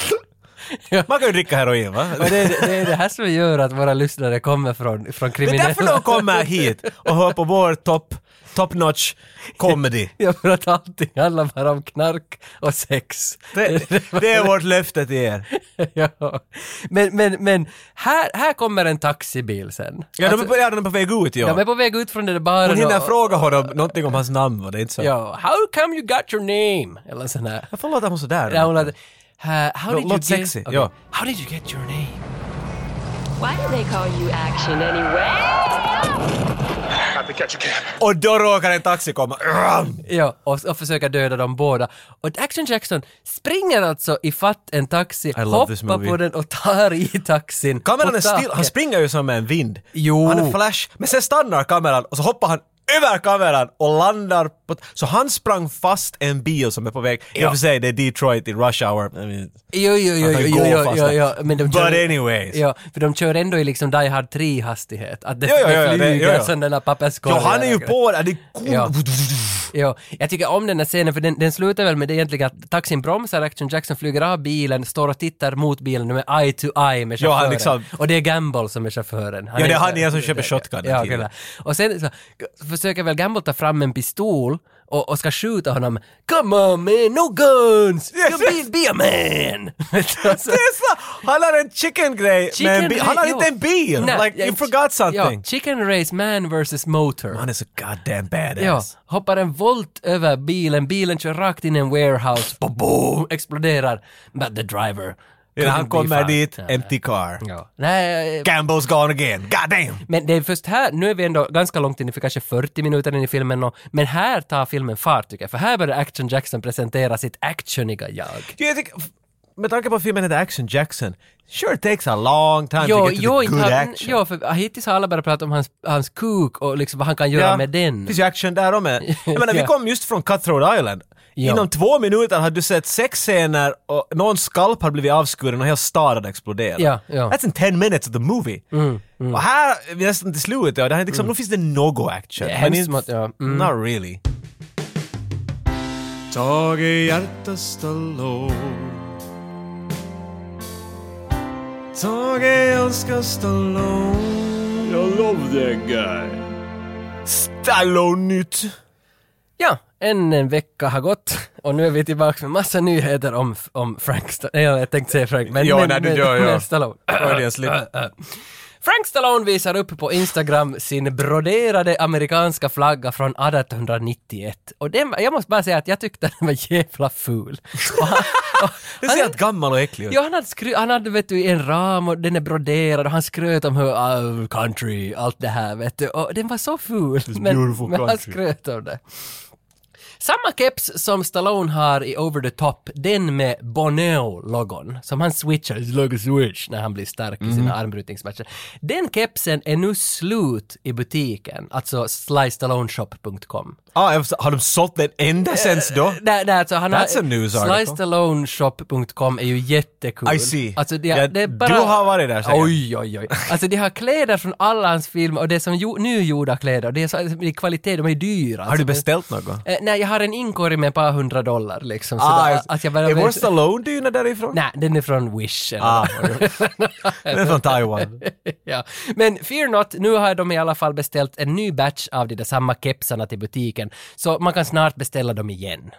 Ja.
Man kan ju dricka heroin va?
Och det, är- det är det här som gör att våra lyssnare kommer från, från
Det är
kriminella...
därför de kommer hit och hör på vår top, top notch comedy.
Ja, för att allting handlar bara om knark och sex.
Det, det är vårt löfte till er.
ja. Men, men, men här, här kommer en taxibil sen.
Ja, de är
Alltså,
på, ja, de är på väg ut ja.
de är på väg ut från den där baren
Hon hinner
och-
fråga honom någonting om hans namn och det är inte så.
Ja, how come you got your name? Eller sån här.
Varför låter hon sådär?
Ja, hon hade, "Uh, how
Lå-
did you
låt
get...
sexy,
Okej.
ja.
How did you get your name?
Why do they call you action anyway?
Have to catch a cab.
Och då råkar en taxi komma. Ram!
Ja, och, och försöka döda dem båda. Och Action Jackson springer alltså i fatt en taxi,
love this
hoppar
movie.
på den och tar i taxin.
Kameran
på
är still, han
taket.
springer ju som en vind.
Jo.
Han är flash, men sen stannar kameran och så hoppar han över kameran och landar på... Så han sprang fast en bil som är på väg. I och för sig, det är Detroit i rush hour. I mean,
Jo, jo, jo,
Att han
jo,
går
jo,
fast
jo,
där.
jo, men de
But
kör,
anyways.
Ja, för de kör ändå i liksom Die Hard 3-hastighet. Att det,
Jo, jo, jo,
det
det-
flyger
jo, jo.
sådana
ja,
papperskorgar.
han är ju på där. Det är cool.
Ja. Ja, jag tycker om den här scenen för den, den slutar väl med det egentligen att taxin bromsar, Action Jackson flyger av bilen, står och tittar mot bilen, de är eye to eye med
Ja,
chauffören.
han liksom-
Och det är Gamble som är chauffören.
Ja, det är han igen som köper shotgun
Ja,
till.
kolla. Och sen så, försöker väl Gamble ta fram en pistol och, och ska skjuta honom. Come on man, no guns!
Yes,
Come be, be a man! Alltså-
Det är så! Han har en chicken-grej, men bi- han har
ja.
inte en bil!
Nej,
like,
ja,
you forgot something.
Ja, chicken race man versus motor.
Han är så goddamn badass.
Ja, hoppar en volt över bilen, bilen kör rakt in i en warehouse, boom, boom, exploderar. But the driver...
Innan han
couldn't be
kommer
found.
dit,
Ja.
empty car.
Ja. Nej, eh,
Gamble's gone again, goddamn!
men det är först här, nu är vi ändå ganska långt in, vi kanske 40 minuter in i filmen, och, men här tar filmen fart tycker jag, för här börjar Action Jackson presentera sitt actioniga jag.
Ja, Jag tycker, med tanke på att filmen heter Action Jackson, sure it takes a long time
Jo,
to get to
jo,
the
inte
good
han,
action.
jo, för hittills har alla bara pratat om hans, hans kuk och liksom vad han kan göra med den.
finns ju action där och med. Jag menar, vi
Ja.
kom just från Cutthroat Island.
Ja.
Inom två minuter hade du sett sex scener och någon skalp hade blivit avskuren och hela staden hade exploderat.
Ja, ja. Mm,
That's in 10 minutes of the movie. Och här, är vi nästan till slutet, ja, det här är liksom, nu finns det något action.
Det är
Men
hemskt
inte-
smått, ja. Mm.
Not really.
Tage Hjärta Stallone Tage älskar Stallone Jag love that guy
Stallone-nytt!
Ja, än en vecka har gått och nu är vi tillbaka med massa nyheter om, om Frank Stallone. Jag tänkte säga Frank, men,
Ja,
men,
nej, du
men,
gör, ja.
men Stallone.
Freudian slip.
Äh, äh. Frank Stallone visar upp på Instagram sin broderade amerikanska flagga från 1891. Och den, jag måste bara säga att jag tyckte den var jävla ful. Och han, och
Det
han-
ser helt gammal och äcklig ut.
Ja, han hade, skry- han hade vet du, en ram och den är broderad och han skröt om hur "Ah, country, allt det här vet du. Och den var så ful. Men,
beautiful
men han
country.
skröt om det. Samma keps som Stallone har i Over the Top, den med Boneo-logon, som han switchar, it's like a switch, när han blir stark i
Mhm.
sina armbrytningsmatcher. Den kepsen är nu slut i butiken, alltså slystalloneshop.com.
Ah, jag förstår. har de sålt den ända sens då?
Nej, nej, alltså han
That's a news
har...
article.
Slicedaloneshop.com är ju jättekul.
I see.
Alltså, det,
Ja,
det är bara...
du har varit där, säkert.
Oj, oj, oj. Alltså de har kläder från alla hans filmer och det är som ju, nygjorda kläder och det är, så, det är kvalitet, de är dyra.
Har
Alltså.
du beställt något?
Eh, nej, jag har en inkorg med ett par hundra dollar liksom. Så
Ah,
där,
jag-
att jag bara
är vår
vet-
Stallone-dyna därifrån?
Nej, den är från Wish. eller
Ah, okej. den är från Taiwan.
ja. Men fear not, nu har de i alla fall beställt en ny batch av de där samma kepsarna till butiken, så man kan snart beställa dem igen.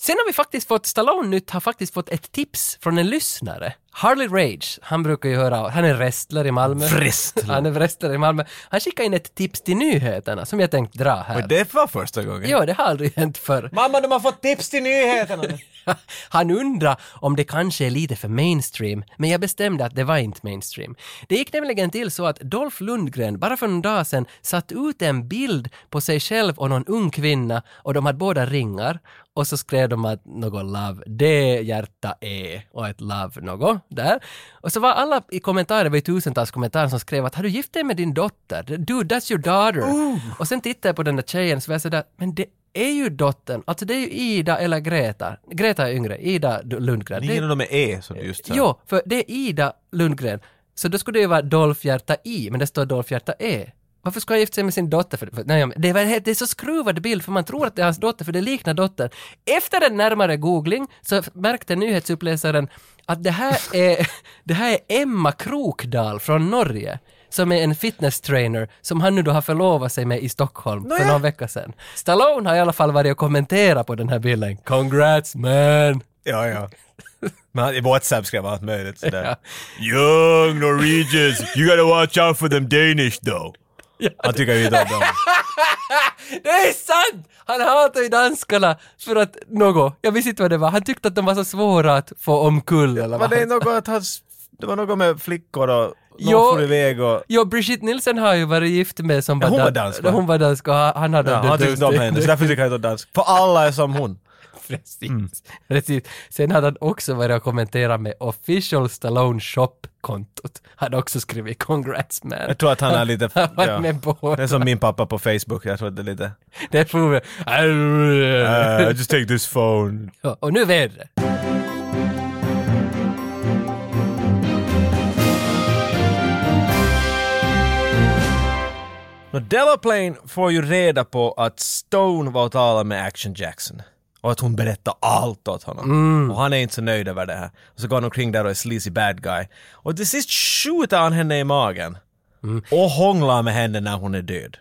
Sen har vi faktiskt fått, Stallone nytt har faktiskt fått ett tips från en lyssnare. Harley Rage, han brukar ju höra, han är wrestler i Malmö.
Wrestler.
Han är wrestler i Malmö. Han skickade in ett tips till nyheterna som jag tänkte dra här.
Och det var första gången.
Ja, det har aldrig hänt förr.
Mamma, de har fått tips till nyheterna!
Han undrar om det kanske är lite för mainstream, men jag bestämde att det var inte mainstream. Det gick nämligen till så att Dolph Lundgren bara för en dag sedan satt ut en bild på sig själv och någon ung kvinna och de hade båda ringar och så skrev de att något love, det E, hjärta är och ett love något där. Och så var alla i kommentarer, det var ju tusentals kommentarer som skrev att har du gift dig med din dotter? Dude, that's your daughter. Och sen tittade jag på den där tjejen så var jag sådär, men det är ju dottern, alltså det är ju Ida eller Greta. Greta är yngre, Ida D- Lundgren.
Ingen av
Det,
dem är E, som du just sa.
jo, för det är Ida Lundgren. Så då skulle det ju vara Dolph Hjärta I, men det står Dolph Hjärta E. Varför ska han gifta sig med sin dotter? För, för, nej, men det, var, det är så skruvad bild, för man tror att det är hans dotter, för det liknar dottern. Efter en närmare googling så märkte nyhetsuppläsaren att det här är, det här är Emma Krokdal från Norge, som är en fitness trainer som han nu då har förlovat sig med i Stockholm för någon vecka sedan. Stallone har i alla fall varit och kommenterat på den här bilden. Congrats man!
Ja, ja. Men i WhatsApp skrev allt möjligt sådär. Young Norwegians, you gotta watch out for them Danish though. Han tycker ju inte om dem.
Det är sant! Han hatar ju danskarna för att något, jag visste inte vad det var, han tyckte att de var så svåra att få omkull eller
Var
vad.
det
han-
något att hans... Det var något med flickor och någon
Jo.
for iväg och...
Jo, Brigitte Nielsen har ju varit gift med som
Ja, hon
dan-
var dansk, va?
Hon var dansk och han han hade...
Ja, han tyckte inte om henne, så Mm. därför tycker han inte om dansk. För alla är som hon.
Precis. Precis. Sen hade han också varit och kommenterat med official Stallone shop-kontot. Han hade också skrivit congrats man.
Jag tror att han är lite...
Han var
ja.
med på
Det är som min pappa på Facebook, jag tror att det är lite...
Det får vi...
Uh, just take this phone.
Ja, Och nu vädret.
Nå, Delaplane får ju reda på att Stone var och talade med Action Jackson. Och att hon berättade allt åt honom.
Mm.
Och han är inte så nöjd över det här. Och så går han omkring där och är sleazy bad guy. Och till sist skjuter han henne i magen.
Mm.
Och hånglar med henne när hon är död.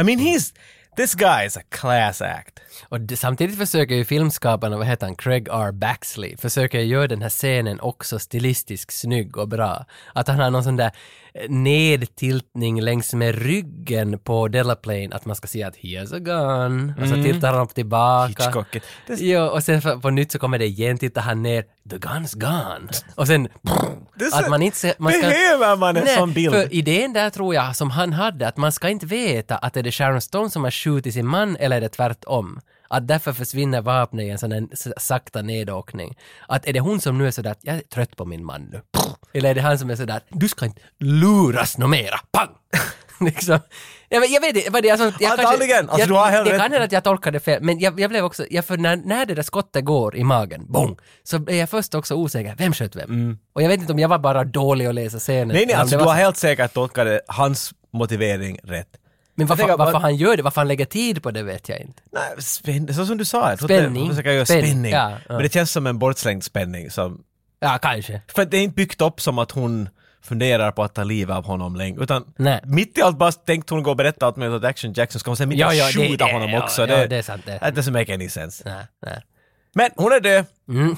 I mean he's... This guy is a class act.
Och det, samtidigt försöker ju filmskaparna, vad heter han, Craig R. Baxley, försöker göra den här scenen också stilistiskt snygg och bra. Att han har någon sån där eh, nedtiltning längs med ryggen på Delaplane, att man ska se att he has a gun, och så
Mm.
tittar han upp tillbaka.
Hitchcockigt. Det-
Jo, och sen för- på nytt så kommer det igen, tittar han ner, the gun's gone. Och sen,
Det
att
ser-
man inte ser, man ska,
Behöver man en sån bild?
För Alltså, idén där tror jag som han hade, att man ska inte veta att är det Sharon Stone som har skjutit sin man eller är det tvärtom. Att därför försvinner vapnet i en sån här s- sakta nedåkning. Att är det hon som nu är sådär att jag är trött på min man nu. Eller är det han som är sådär att du ska inte luras nå mera. Pang! liksom. Jag vet, jag vet inte, vad det är som... Jag
Antagligen. Alltså, du har helt
det
rätt.
kan hända att jag tolkade det fel, men jag, jag blev också, jag, för när, när det där skottet går i magen, bong, så blev jag först också osäker, vem sköt vem? Och jag vet inte om jag var bara dålig att läsa scenen.
Mm. Nej, nej,
eller om
alltså
det
du
var
har
så-
helt säkert tolkat det- hans motivering rätt.
Men varför,
tänker att man-
varför han gör det, varför han lägger tid på det vet jag inte.
Nej, spänn, så som du sa, jag tror att
Spänning.
det försöker göra
Spänning,
spänning.
ja, ja.
Men det känns som en bortslängd spänning som
Ja, kanske.
För att det är inte byggt upp som att hon funderar på att ta livet av honom längre. Utan
Nej.
mitt i allt bara tänkte hon gå och berätta allt möjligt åt Action Jackson. Ska hon sen mitt i
Ja, ja, det-
allt skjuta
det-
honom
ja,
också?
ja, det är sant, det är
That doesn't make any sense.
Nej, nej.
Men hon är död.
Mm.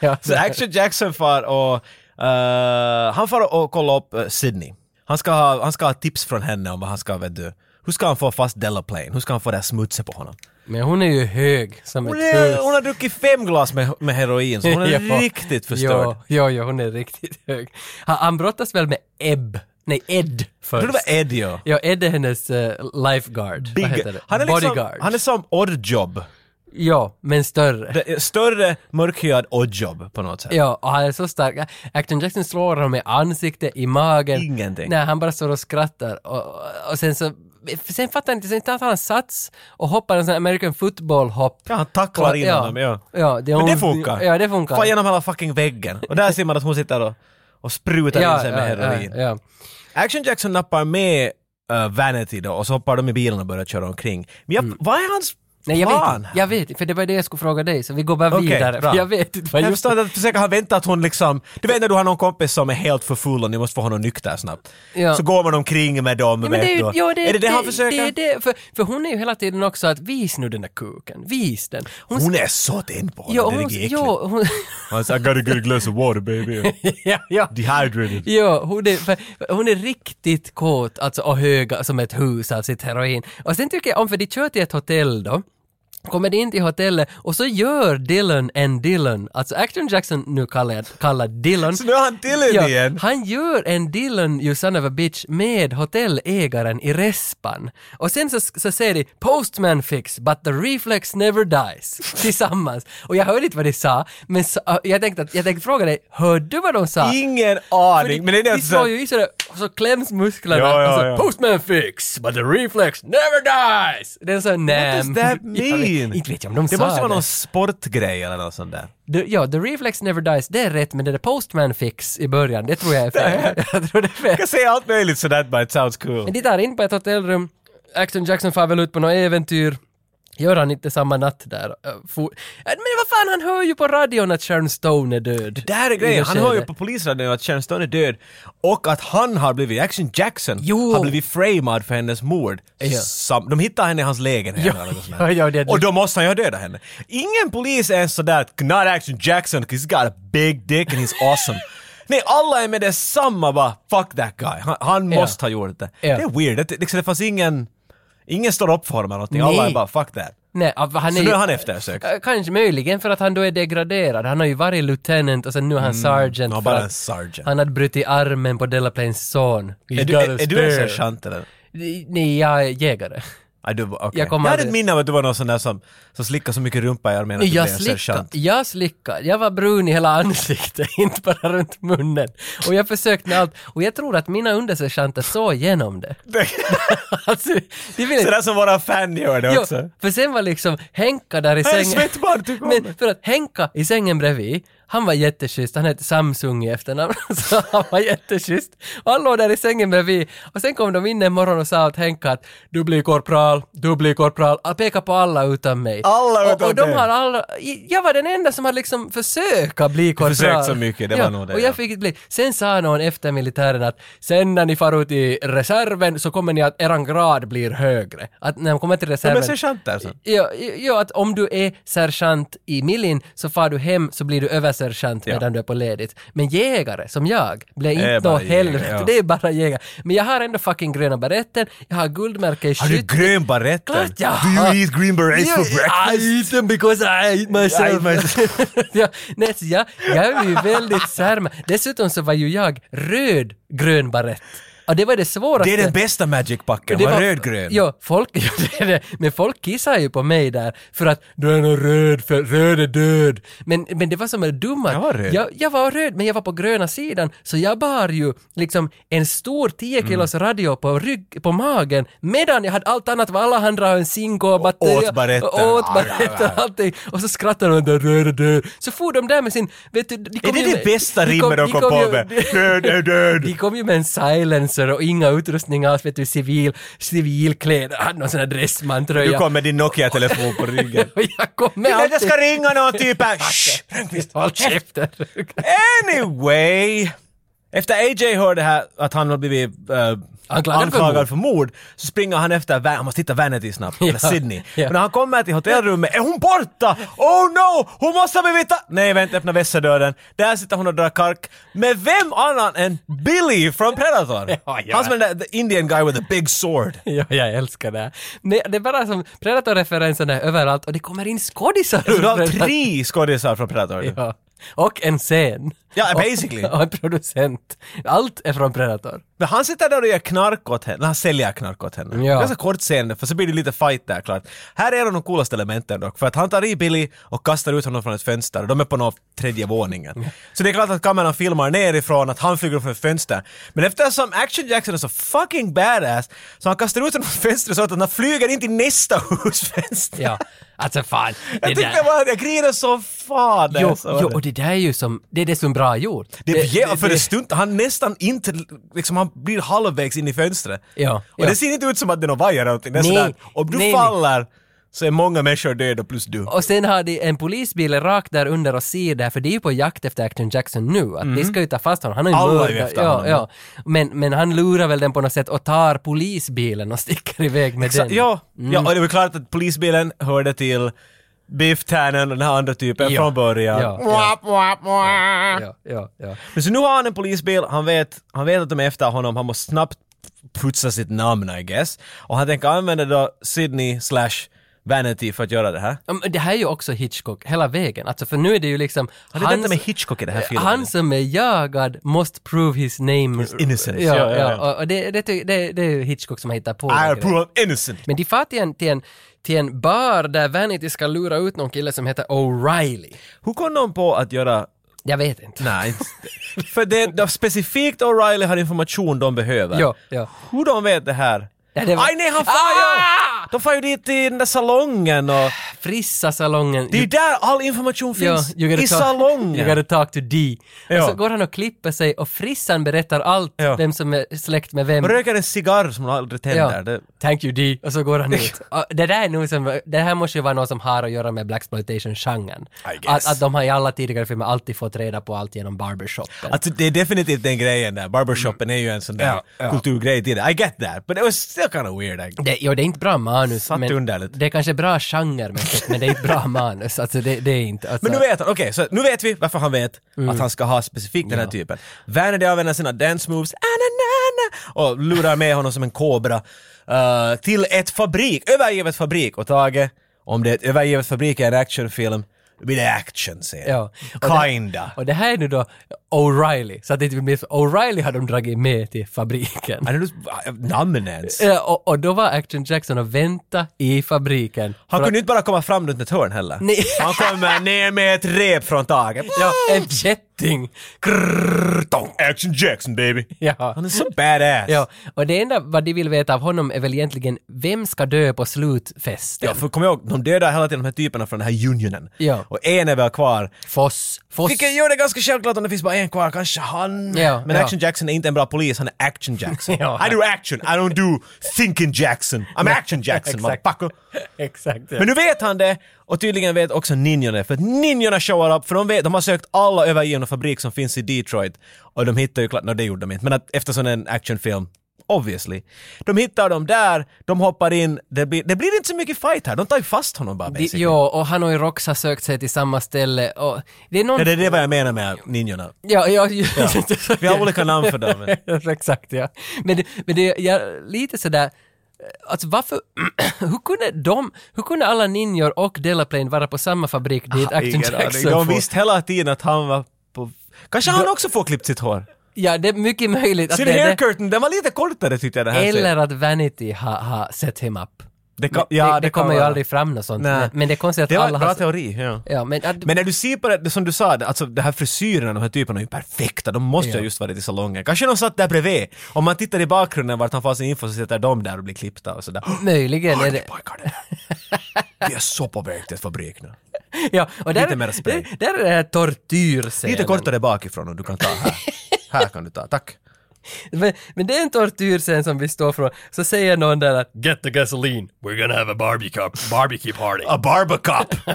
ja,
Så Action Jackson far och... eh, han far och kollar upp eh, Sydney. Han ska, ha, han ska ha tips från henne om vad han ska, vet du. Hur ska han få fast Delaplane? Hur ska han få det här smutsen på honom?
Men hon är ju hög som
Hon,
ett
är,
hus.
hon har druckit fem glas med, med heroin, så hon är
Ja.
riktigt förstörd.
Jo, jo, jo, hon är riktigt hög. Han, han brottas väl med Ebb, nej Ed
Jag
först.
tror det var Ed, ja.
Ja, Ed är hennes eh, lifeguard. Vad heter det?
han är liksom,
Bodyguard.
Han är som Oddjob.
Ja, men större.
Det är Större, mörkhyad Oddjob på något sätt.
Ja, och han är så stark. Acton Jackson slår honom i ansiktet, i magen.
Ingenting.
Nej, han bara står och skrattar. Och, och sen så... Sen fattar jag inte, sen tar han sats och hoppar en sån här American football-hopp.
Ja, han tacklar in honom, ja.
ja det,
Men det
hon-
funkar.
Ja, det funkar.
Fan genom hela fucking väggen. Och där ser man att hon sitter och, och sprutar in
ja,
sig
ja,
med heroin.
Ja, ja.
Action Jackson nappar med eh, Vanity då och så hoppar de i bilen och börjar köra omkring. Men jag, vad är hans plan?
Mm. Nej, jag vet, inte. jag vet inte, för det var det jag skulle fråga dig, så vi går bara
Okej,
vidare.
bra.
Jag vet inte vad
Jag
just...
förstår att försöker han vänta att hon liksom, du vet när du har någon kompis som är helt för full och ni måste få honom nykter snabbt.
Ja.
Så går man omkring med dem,
Ja, men
vet
det är, ju-
du.
ja, det,
är det det, han
Det,
försöker?
är det, för, för hon är ju hela tiden också att vis nu den där kuken, vis den.
Hon är så tänd på honom,
ja,
det är
hon,
riktigt äckligt.
ja, hon,
Han sa I gotta get a glass of water baby.
ja, ja.
Dehydrated.
Ja, hon är, för- för hon är riktigt kåt alltså, och hög som ett hus av sitt heroin. Och sen tycker jag om, för de kör till ett hotell då, kommer de in till hotellet och så gör Dylan en Dylan, alltså Action Jackson nu kallar, jag, kallar Dylan.
Så nu har han till henne igen.
Han gör en Dylan you son of a bitch med hotellägaren i respan. Och sen så, så säger de “Postman fix, but the reflex never dies” tillsammans. Och jag hörde inte vad de sa, men så, jag, tänkte att, jag tänkte fråga dig, hörde du vad de sa?
Ingen
För
aning. Men det är
de
det
slår
så
ju i sig det, och så kläms musklerna
Ja, ja,
och så
ja.
“Postman fix, but the reflex never dies”. Det är så nej.
What does that
Jag
mean?
vet, inte vet jag om de
det
sa
måste vara
det.
någon sportgrej eller något sånt där.
The, ja, the reflex never dies, det är rätt, men det där Postman fix i början, det tror jag är fel. jag tror det är fel.
Jag kan säga allt möjligt sådär but it sounds cool.
Men de tar in på ett hotellrum, Action Jackson far väl ut på något äventyr, gör han inte samma natt där? Äh, for- Äh, Men vad fan, han hör ju på radion att Sharon Stone är död.
Det här är grejen,
Jag
han
ser
hör ju
det.
på polisradion att Sharon Stone är död och att han har blivit, Action Jackson,
Jo.
har blivit framad för hennes mord.
Ja.
Sam, de hittar henne i hans lägenhet
Ja,
eller något sånt
ja,
där.
ja, det-
Och då måste han ju ha dödat henne. Ingen polis är ens sådär “Not Action Jackson, 'cause he's got a big dick and he's awesome”. Nej, alla är med detsamma bara “Fuck that guy”. Han, han
Ja.
måste ha gjort det.
Ja.
Det är weird, det, liksom, det fanns ingen... Ingen står upp för honom eller någonting, alla
Nej.
är bara “Fuck that”.
Nej, av- han
Så
är
nu
ju-
är han eftersökt.
Äh, Kanske möjligen för att han då är degraderad. Han har ju varit lieutenant och sen nu är han sergeant.
Mm. Ja,
för
bara
att
en sergeant.
Han hade brutit armen på Delaplanes son.
Är du, är, är du en sergeant eller?
Nej, jag är jägare.
Ah, du, okay.
Jag
jag,
kommer
hade
aldrig-
ett minne av att du var någon sån där som, som slickade så mycket rumpa i armén att du blev
Jag
en
slickade,
sergeant.
jag slickade. Jag var brun i hela ansiktet, inte bara runt munnen. Och jag försökte med allt. Och jag tror att mina undersergeanter såg igenom det. alltså, de ville inte...
Sådär som våra fan gör det
Jo,
också.
för sen var liksom Henka där i
Här är
sängen.
svettband, du kommer.
Men för att Henka i sängen bredvid, han var jätteschysst, han hette Samsung i efternamn, så han var jätteschysst. Och han låg där i sängen bredvid och sen kom de in en morgon och sa åt Henka att du blir korpral, du blir korpral, Han pekade på alla utan mig.
Alla
och,
utom
och de
dig.
har alla, jag var den enda som hade liksom försökt att bli korpral.
försökt så mycket, det var
ja,
nog det,
Och jag
ja.
fick inte bli. Sen sa någon efter militären att sen när ni far ut i reserven så kommer ni att eran grad blir högre. Att när man kommer till
De
reserven...
är sergeanter sen.
Ja, ja, att om du är sergeant i milin så far du hem så blir du översergeant
Ja.
medan du är på ledigt. Men jägare som jag blir
Det är
inte
bara
något
jägare,
helvete,
ja.
det är bara jägare. Men jag har ändå fucking gröna baretten, jag har guldmärke i
Har du grön baretten?
Klart jag
Do
har.
you eat green berets for breakfast?
I eat them because I eat
I
myself.
eat myself.
ja, nej, så jag, jag är ju väldigt särma. Dessutom så var ju jag röd grön barett. Och det var det svåraste.
Det är den bästa magic-packen,
Det
var, rödgrön.
Ja, folk, ja, det är det. men folk kissar ju på mig där för att du är nog röd, för röd är död. Men, men det var som en dumma.
Jag var röd.
Jag, jag var röd, men jag var på gröna sidan, så jag bar ju liksom en stor 10 kilos
Mm.
radio på, rygg, på magen, medan jag hade allt annat, vad alla andra har en zinko och batteri.
åt baretten.
Och åt baretten och allting. Och så skrattade de där, röd är död. Så for de där med sin, vet du, de kom
Är det
ju
det
med-
bästa rimmet de kom
ju-
på med? Död är
de
död!
kom ju med en silencer och inga utrustningar alls, vet du, civil, civilkläder, hade någon sån här
Du
dressmantröja.
kom med din Nokia-telefon på ryggen.
Och jag kom med
Men jag
alltid.
ska ringa någon typ här. Shh!
Håll käften!
Anyway! Efter AJ hör det här att han har blivit eh,
Anklagad
anklagad
för
för mord.
mord.
så springer han efter, Van- han måste hitta Vanity snabbt, eller
Ja,
Sydney.
ja.
Men när han kommer till hotellrummet, är hon borta? Oh no! Hon måste ha blivit... ta- Nej vänta, öppna vässerdörren. Där sitter hon och drar kark. Med vem annan än Billy från Predator?
Ja, ja.
Han som är den där the Indian guy with a big sword.
Ja, jag älskar det. här. Nej, det är bara som Predator-referenserna är överallt och det kommer in skådisar
Så
ur
du har
Predator.
tre skådisar från Predator.
Ja. Och en scen.
Ja, basically.
Och, och en producent. Allt är från Predator.
Men han sitter där och gör knark åt henne, eller han säljer knark åt henne.
Ja.
Ganska kort scen, för så blir det lite fight där klart. Här är en av de coolaste elementen dock, för att han tar i Billy och kastar ut honom från ett fönster och de är på någon tredje våningen. Så det är klart att kameran filmar nerifrån, att han flyger från ett fönster. Men eftersom Action Jackson är så fucking badass, så han kastar ut honom från fönstret så att han flyger in till nästa husfönster.
Ja, alltså fan. Det
Jag tyckte bara, jag grinade som fan. alltså. när
Jo,
jag såg
jo,
det.
och det där är ju som, det är det som är bra gjort.
Det, ja, för
det-
en stund, han nästan inte, liksom han blir halvvägs in i fönstret.
Ja,
och
ja.
det ser inte ut som att det är någon vajer eller någonting. Det är
Nej,
sådär, om du
nej, nej.
faller så är många människor döda plus du.
Och sen har de en polisbil rakt där under och ser det här, för det är ju på jakt efter Action Jackson nu. Att de ska ju ta fast honom. Han är ju
Mm. Alla är ju
mördat.
efter
ja,
honom.
ja. Men, men han lurar väl den på något sätt och tar polisbilen och sticker iväg med
Exa-
den.
ja, ja, och det var klart att polisbilen hörde till Biff Tannen och den här andra typen
Ja,
från början.
ja, ja. Ja, ja, ja.
Men så nu har han en polisbil, han vet, han vet att de är efter honom, han måste snabbt putsa sitt namn I guess. Och han tänker använda då Sydney slash Vanity för att göra det här.
Ja, men Det här är ju också Hitchcock hela vägen. Alltså för nu är det ju liksom...
det är detta med Hitchcock i den här filmen.
Han som är jagad måste prove his name. His
innocence.
Ja,
Ja,
ja,
ja, ja.
Och- Och det, det, ty- det, det är ju Hitchcock som har hittat på den
I
grejen.
approve of innocent.
Men de far till en, till, en, till en bar där Vanity ska lura ut någon kille som heter O'Reilly.
Hur kom någon på att göra
Jag vet inte.
Nej, inte. för det, det specifikt O'Reilly har information de behöver.
Ja, ja.
Hur de vet det här?
Ja, det var- Ah!
Aj nej, han far ju! De far ju dit till den där salongen och...
Frissa salongen.
Det är ju
You-
där all information finns!
you gotta
I
talk- You
salongen!
gotta talk to D.
Ja.
Och så går han och klipper sig och frissan berättar allt,
Ja.
vem som är släkt med vem.
Och röker en cigarr som hon aldrig tänder.
Ja.
Det,
Thank you D. Och så går han ut. Och det där är nog som, det här måste ju vara något som har att göra med Blaxploitation-genren.
I guess.
Att, att de har i alla tidigare filmer alltid fått reda på allt genom barbershopen.
alltså, det är definitivt den grejen där. Barbershopen är ju en sån där
Ja, ja.
kulturgrej till det. I get that, but it was still kind of weird. I
det, jo, det är inte bra manus.
Satt
men
underligt.
Det är kanske bra genremässigt, men det är inte bra manus. Alltså det, det är inte. Alltså,
Men nu vet han, okej, så nu vet vi varför han vet
Mm.
att han ska ha specifikt den här typen. Vanity använder sina dance moves, ananana, och lurar med honom som en kobra eh, till ett fabrik, övergivet fabrik. Och Tage, om det är ett övergivet fabrik är en actionfilm, då blir det actionscen.
Ja.
Kinda.
Och det här är nu då O'Reilly, så att det inte blir mer- O'Reilly har de dragit med till fabriken.
Är det du- namn ens?
Ja, och, och då var Action Jackson och vänta i fabriken.
Han
För
kunde ju inte bara komma fram runt ett hörn heller.
Nej.
Han kommer ner med ett rep från Tage. Ja.
att- En kätting! Krrrr, tong.
Action Jackson baby!
Ja.
Han är så badass!
Ja, och det enda vad de vill veta av honom är väl egentligen vem ska dö på slutfesten?
Ja, för kom ihåg, de dödar hela tiden de här typerna från den här unionen.
Ja.
Och en är väl kvar.
Foss. Foss.
Vilket gör det ganska självklart om det finns bara en kvar, kanske han.
Ja,
Men
ja.
Action Jackson är inte en bra polis, han är Action Jackson.
Ja.
I do action, I don't do thinking Jackson. I'm Action Jackson,
Exakt.
motherfucker.
Exakt.
Men nu vet han det, och tydligen vet också ninjorna det, för att ninjorna showar upp, för de, vet, de har sökt alla övergivna fabrik som finns i Detroit. Och de hittar ju klart, no, det gjorde de inte, men att eftersom det är en actionfilm, obviously. De hittar dem där, de hoppar in, det blir, det blir inte så mycket fight här, de tar ju fast honom bara
De,
basically.
ja, och han och Rox har sökt sig till samma ställe och det är någon...
Ja, det är det vad jag menar med ninjorna.
Ja, ja,
Vi har olika namn för dem.
Exakt, ja. Men, det- men det är jag, lite sådär, eh, alltså varför, hur kunde de, hur kunde alla ninjor och Delaplane vara på samma fabrik dit Action
Ingen aning.
Jackson
De
får-
visste hela tiden att han var på... Kanske han också får klippt sitt hår?
Ja, det är mycket möjligt att
Sin
det är det.
haircurtain, den var lite kortare tyckte jag den här
Eller att Vanity har ha set him up.
Det, kan-
Ja, det, det,
kan
kommer ju
vara.
aldrig fram något sånt.
Nej.
Men, men det är konstigt att
Det var en
alla
bra
har...
teori, ja.
Ja, men, att,
Men när du ser på det, det som du sa, det- alltså de här frisyrerna, de här typerna är ju perfekta, de måste ju ha
Ja.
just varit i salongen. Kanske de satt där bredvid. Om man tittar i bakgrunden vart han får sin info så sitter de där och blir klippta och sådär.
möjligen Mm. är
Hör ni
det...
pojkar det? Vi är så på väg till ett fabrik nu.
Ja, och där,
Lite mer spray.
Där, där är det här tortyrscenen.
Lite kortare bakifrån om du kan ta här. här kan du ta, tack.
Men, men det är en tortyrscen som vi står från. Så säger någon där att “Get the gasoline, we're gonna have a barbecue, barbecue party”.
A barbacop!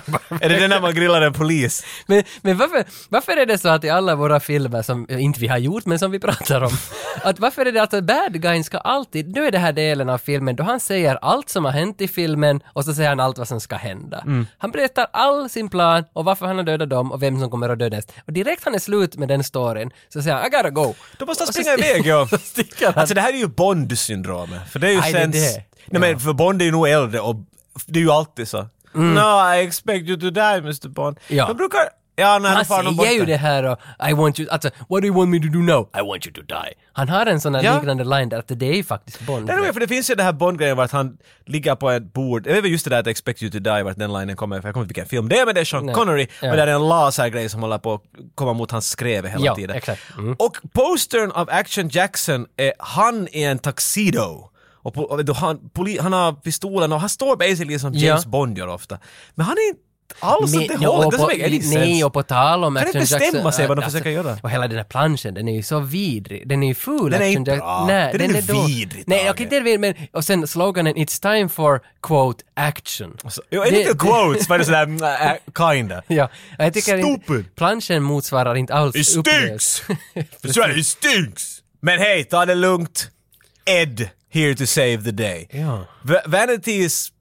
är det den när man grillar en polis?
Men, men varför, varför är det så att i alla våra filmer som eh, inte vi har gjort men som vi pratar om, att varför är det att bad guyn ska alltid, nu är det här delen av filmen då han säger allt som har hänt i filmen och så säger han allt vad som ska hända.
Mm.
Han berättar all sin plan och varför han har dödat dem och vem som kommer att dödas. Och direkt han är slut med den storyn så säger han I gotta go.
Då måste han
Och så
springa
sti-
iväg, ja.
så sticker han.
Alltså det här är ju Bond-syndromet. För det är ju
Aj, det är
sen...
det.
Nej men för Bond är ju nog äldre och det är ju alltid så. No, I expect you to die Mr Bond.
Mm. Ja.
De brukar... Ja, när
han
far någon
säger ju
borta.
det här och I want you, alltså what do you want me to do now? I want you to die. Han har en sån här
Ja.
liknande line där att det är ju faktiskt Bond.
Det är roligt, för det finns ju det här Bond-grejen vart han ligger på ett bord. Jag vet just det där att “Expect you to die” vart den linen kommer för jag kommer inte ihåg vilken film det är men det är Sean
Nej.
Connery
Ja.
och det är en lasergrej som håller på att komma mot hans skrev hela
Ja,
tiden.
exakt. Mm.
Och postern av Action Jackson är han i en tuxedo. Och po- och då han, poli, han har pistolen och han står basically som James
Ja.
Bond gör ofta. Men han är inte alls åt det
ja,
hållet,
och
det
på-
som är
Nej, och på tal om
Kan inte bestämma sig vad de försöker göra.
alltså, Och hela den här planschen, den är ju så vidrig. Den är ju ful.
Den är
Action
inte
Jackson.
bra.
Nej,
Den är
är då-
vidrig,
Nej,
Tage.
okej, det är vidrig, men... Och sen sloganen “It's time for, quote, action”.
Jo, en
Det-
liten
det-
quotes var det sådär, mm, äh, kinda.
Ja, jag tycker inte...
Stupid.
Planschen motsvarar inte alls
It stinks!
upplevelsen.
That's right, it stinks! Men hej, ta det lugnt. Ed, here to save the day.
Ja.
Va- Vanity's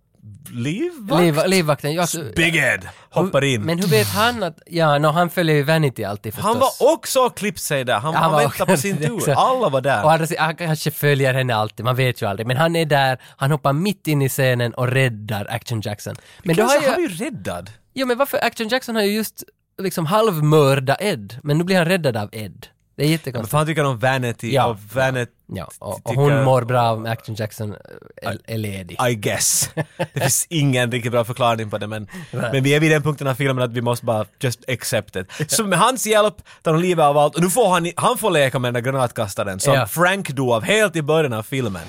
livvakt?
Liv, livvakten, ja, alltså-
Big Ed hoppar in.
Men hur vet han att... Ja, no, han följer ju Vanity alltid förstås.
han var också och klippt sig där. Han,
Ja,
han,
var-
väntade på sin tur.
Exakt.
Alla var där.
Och andra sidan, han kanske följer henne alltid, man vet ju aldrig. Men han är där, han hoppar mitt in i scenen och räddar Action Jackson. Men då har
Kanske han
ju...
blir räddad.
Jo men varför, Action Jackson har ju just liksom halvmördat Ed, men nu blir han räddad av Ed. Det är
Men
jättekonstigt.
för han tycker om Vanity
Ja.
och Vanity,
Ja, och, och
tycker-
hon mår bra om Action Jackson eh, är, är ledig.
I guess. Det finns ingen riktigt bra förklaring på det men, men vi är vid den punkten av filmen att vi måste bara just accept it. Så med hans hjälp tar hon livet av allt och nu får han, han får leka med den där granatkastaren som
Ja.
Frank dog av helt i början av filmen.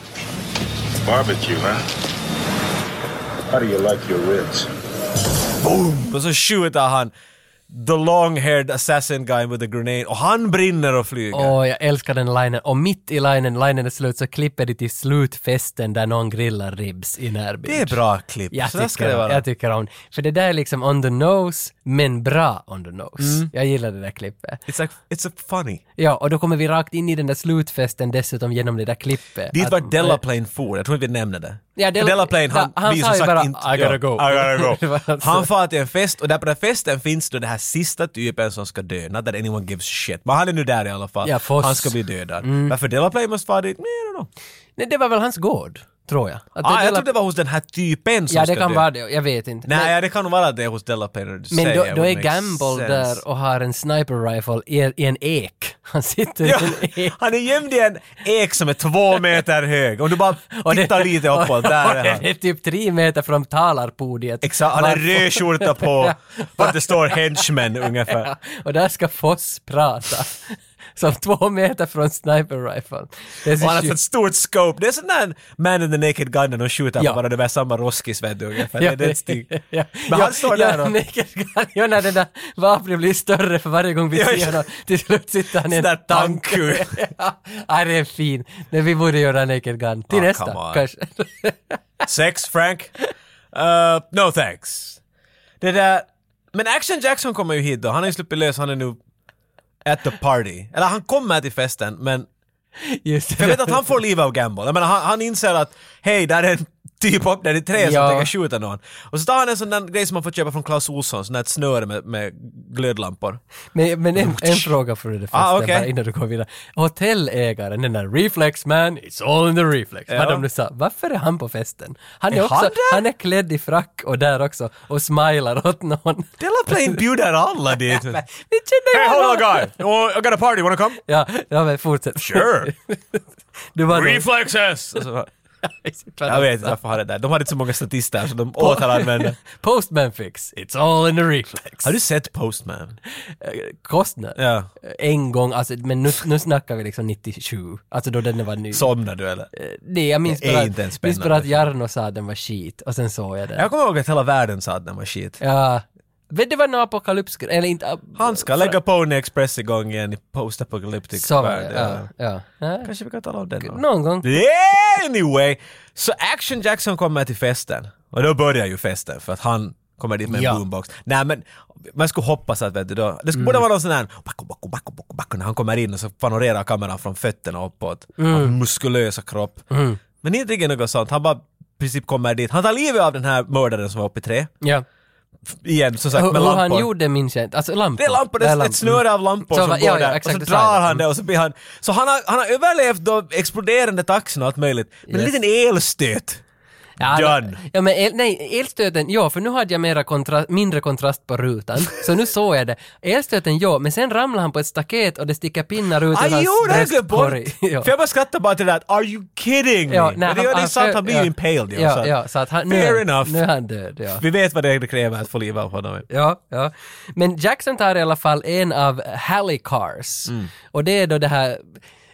Barbecue, huh? How do you like your ribs?
Och så skjuter han the long-haired assassin guy with the grenade och han brinner och flyger.
Åh, jag älskar den linen. Och mitt i linen, linen är slut, så klipper de till slutfesten där någon grillar ribs i närbild.
Det är bra klipp.
Jag
så där
tycker,
ska det vara.
jag tycker om För det där är liksom on the nose, men bra on the nose. Jag gillar det där klippet.
Mm. It's, like, it's a funny.
Ja, och då kommer vi rakt in i den där slutfesten dessutom genom det där klippet.
Dit
Att-
var Delaplane for, jag tror inte vi nämnde det.
Ja, Del-
För Delaplane, han,
Ja, han
vi
sa
som
ju
sagt
bara,
inte...
"I gotta go."
I gotta go.
Det var alltså-
Han far till en fest och där på den festen finns då den här sista typen som ska dö. Not that anyone gives shit. Men han är nu där i alla fall.
Ja, Mm. Foss.
han ska bli dödad. Varför Delaplane måste fara dit? Nej, I don't know.
Nej, det var väl hans gård, tror jag. Att det
Ah,
Dela-
jag trodde det var hos den här typen som
Ja,
ska
det kan
dö.
vara det. Jag vet inte.
Nej,
men
ja, det kan nog vara att det är hos Delaplane. när du
men
säger
då,
det,
då
would
är
make
Gamble
sense.
där och har en sniper rifle i, i en ek. Han sitter
Ja,
i en ek.
han är gömd i en ek som är två meter hög. Om du bara
Och det-
tittar lite uppåt, där är
och
han.
det är typ tre meter från talarpodiet.
Exakt, han har en
Varför-
röd skjorta på, vart det står henchmen ungefär.
Ja, och där ska Foss prata. Som två meter från sniper rifle. Det är så
Och han har
sjukt.
ett stort scope. Det är sån där Man in the Naked Gun när de skjuter
Ja.
på varandra, det är samma roskis vet du ungefär. Det är den stil.
ja.
Men han står där och-
och... Ja, när det där vapnet blir större för varje gång vi
Ja,
ser
ja.
honom. Till slut sitter han i
Sån
en
där
tank.
tankur.
ja, ja, det är fin. Men vi borde göra Naked Gun. Till
Ah, come
nästa
on.
kanske.
Sex, Frank? Uh, no thanks. Det där... Men Action Jackson kommer ju hit då, han har ju sluppit lös, han är nu at the party. Eller han kommer till festen, men
Just det.
jag vet att han får liv av Gamble. Jag menar, han, han inser att hej, där är en typ upp där i trä
Ja.
som tänker skjuta någon. Och så tar han en sån där grej som man får köpa från Clas Ohlson, sån där ett snöre med, med glödlampor.
Men, men en, en fråga för det första,
Ah, okej.
bara innan du går vidare. Hotellägaren, den där reflex man, it's all in the reflex. Vad de nu sa. Varför är han på festen? Han är,
Är
också,
han
han,
där?
är klädd i frack och där också och smilar åt någon.
Delaplane bjuder alla
Ni
dit.
känner ju
Hey, hold on,
honom!
guy. Oh, I got a party. Wanna come?
Ja, ja, men fortsätt.
Sure.
Du var nog-
Reflexes! Alltså, jag vet inte varför har det där. De hade inte så många statister så de återanvände.
Postman fix, it's all in the reflex.
Har du sett Postman?
Eh, Kostner?
Ja.
En gång, alltså, men nu, nu snackar vi liksom 97, alltså då den var ny.
Somnar du eller?
Nej, jag minns
Det är
bara,
inte en
att, minns
spännande
bara att Jarno sa att den var skit och sen såg jag den.
Jag kommer ihåg att hela världen sa att den var shit.
Ja, Vet du vad en apokalyps... Eller inte... ah, ap-
Han ska lägga Pony Express igång igen i post-apocalyptic
Så var
värld.
det, ja. ja. Nej,
Kanske vi kan tala om det någon
Någon gång.
Yeah, anyway! Så Action Jackson kommer till festen. Och då börjar ju festen för att han kommer dit med en
Ja.
boombox. Nej men, man skulle hoppas att vet du då, det skulle
Mm.
borde vara någon sån här backo, backo, backo, backo, backo, när han kommer in och så panorerar kameran från fötterna uppåt.
Mm.
Hans muskulösa kropp. Men inte riktigt något sånt, han bara i princip kommer dit. Han tar livet av den här mördaren som var uppe i trä.
Ja.
Igen, som sagt
Hur
med
hur han
lampor.
gjorde min tjänst. Alltså lampor.
Det är lampor, det
är
är ett
lampor.
snöre av lampor
Så
som
va-
går
ja, ja,
där.
exakt,
och
det
så
sa jag.
drar han
Mm.
det och så blir han... Så han har, han har överlevt då exploderande taxin och allt möjligt. Men en
Yes.
liten elstöt.
Ja, men-
Done.
ja men el, nej, elstöten, ja, för nu hade jag mera kontra, mindre kontrast på rutan. Så nu såg jag det. Elstöten, ja, men sen ramlar han på ett staket och det sticker pinnar ut ur
Aj,
hans
Ah, jo, det har jag glömt bort!
bröstkorg. Ja.
För jag bara skrattar bara till det där att, are you kidding me?
Ja, nej,
men det, han, det är sant, han blir
ja.
ju impaled ju. så
Ja,
att-
ja, så att han, nu,
fair
är-
enough.
nu är han död. Ja.
Vi vet vad det kräver att få liv av honom.
Ja, ja. Men Jackson tar i alla fall en av Hallicars.
Mm.
Och det är då det här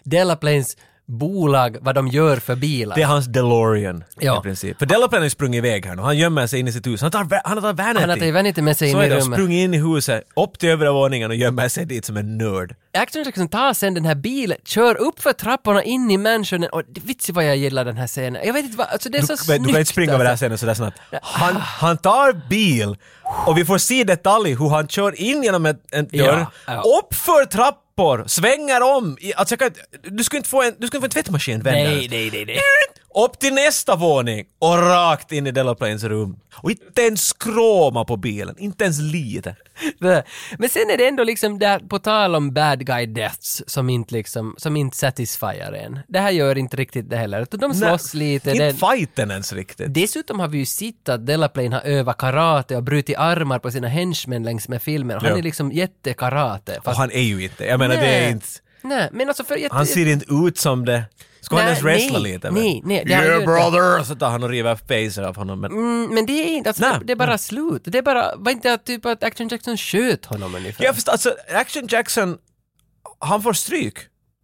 Delaplanes bolag, vad de gör för bilar.
Det är hans DeLorean
Ja.
i princip. För DeLorean har ju sprungit iväg här nu. Han gömmer sig inne i sitt hus. Han tar, va- han tar Vanity.
Han har tagit Vanity med sig in
så
i
är det,
rummet.
sprungit in i huset, upp till övre våningen och gömmer sig dit som en nörd.
Action Jackson tar sen den här bilen, kör upp för trapporna in i mansionen och det- vitsi vad jag gillar den här scenen. Jag vet inte vad, alltså det är så
du, men
snyggt.
du kan inte springa över det här
alltså.
scenen sådär snabbt. Han, han tar bil och vi får se i detalj hur han kör in genom ett- en dörr,
Ja, ja.
uppför trappor, svänger om. I, alltså jag kan, inte- du skulle inte få en, du skulle få en tvättmaskin vänd
Nej,
där.
nej, nej, nej.
Upp till nästa våning och rakt in i Delaplanes rum. Och inte ens skråma på bilen, inte ens lite.
Det. Men sen är det ändå liksom där, på tal om bad guy deaths som inte liksom, som inte satisfierar en. Det här gör inte riktigt det heller. utan De slåss lite.
Inte
den-
fighten ens riktigt.
Dessutom har vi ju sett att Delaplane har övat karate och brutit armar på sina henchmen längs med filmen. Han
Ja.
är liksom jättekarate.
Och
fast-
han är ju inte, jag menar det är
Nej.
inte...
Nej, men alltså för... jätte-
Han ser inte ut som det. Ska han
Nej,
ens wrestla
nej,
lite?
nej, nej, det har han
yeah
ju
brother! Så tar han och river facer av honom. Men...
Mm, men det är inte... Alltså,
Nej.
det, det är bara slut. Det är bara... Var inte att typ att Action Jackson sköt honom ungefär?
Jag förstår, alltså Action Jackson, han får stryk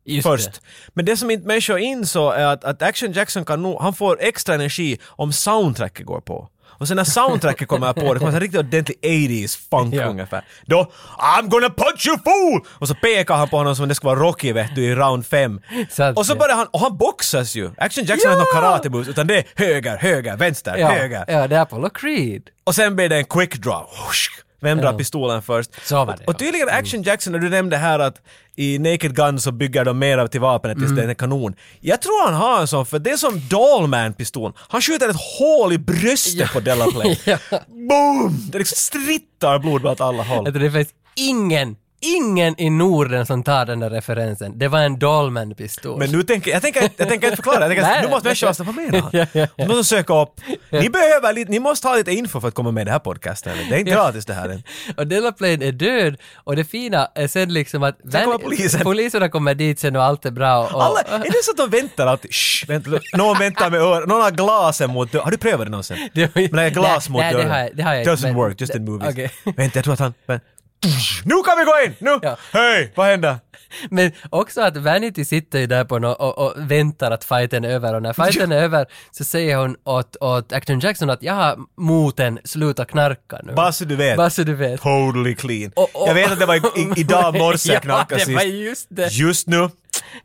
Just
först.
det.
Men det som inte människor insåg är att, att Action Jackson kan nog, han får extra energi om soundtracket går på. Och sen när soundtracket kommer på, det kommer en riktigt ordentlig 80s funk
Ja.
ungefär. Då I'm gonna punch you fool! Och så pekar han på honom som om det skulle vara Rocky vet du i round 5.
Sant,
Och så
ja.
börjar han, och han boxas ju! Action Jackson har inte någon karate moves utan det är höger, höger, vänster,
Ja,
höger.
ja, det är Apollo Creed.
Och sen blir det en quick draw. Whoosh. Vem drar
Ja.
pistolen först?
Så var det, Mm.
och, och tydligen Action Jackson, när du nämnde här att i Naked Gun så bygger de mer av till vapnet tills
Mm.
det är en kanon. Jag tror han har en sån, för det är som Dalman-pistol. Han skjuter ett hål i bröstet på Delaplane.
Ja.
Boom! Det liksom strittar blod åt alla håll.
Jag tror det finns ingen, ingen i Norden som tar den där referensen. Det var en Dolman-pistol.
Men nu tänker jag, tänker, jag tänker inte förklara, jag tänker,
Nej.
nu måste människor vad menar han? Nu måste de söka upp. Ni behöver lite, ni måste ha lite info för att komma med i den här podcasten. Det är inte gratis det här än.
Och Delaplane är död och det fina är sen liksom att...
Sen kommer polisen.
Poliserna kommer dit sen och allt är bra. Och,
Alla, är det så att de väntar alltid? Shh, vänta, nu. någon väntar med öronen, någon har glasen mot dörren. Har du prövat det någonsin?
Det-
Men det är glas
Nej,
mot
nej, det
dörren.
har jag- det har jag inte,
Doesn't
men-
work, just in movies.
Okej.
Vänta, jag tror att han... Men, nu kan vi gå in! Nu!
Ja.
Hej, vad händer?
Men också att Vanity sitter ju där på nå och, och väntar att fighten är över och när fighten är över så säger hon åt, åt Acton Jackson att jag har moten, sluta knarka nu.
Bara så du vet.
Bara så du vet.
Totally clean.
Och- och-
Jag vet att det var i, i, idag morse jag
Ja,
knackade
det var
sist.
just det.
Just nu.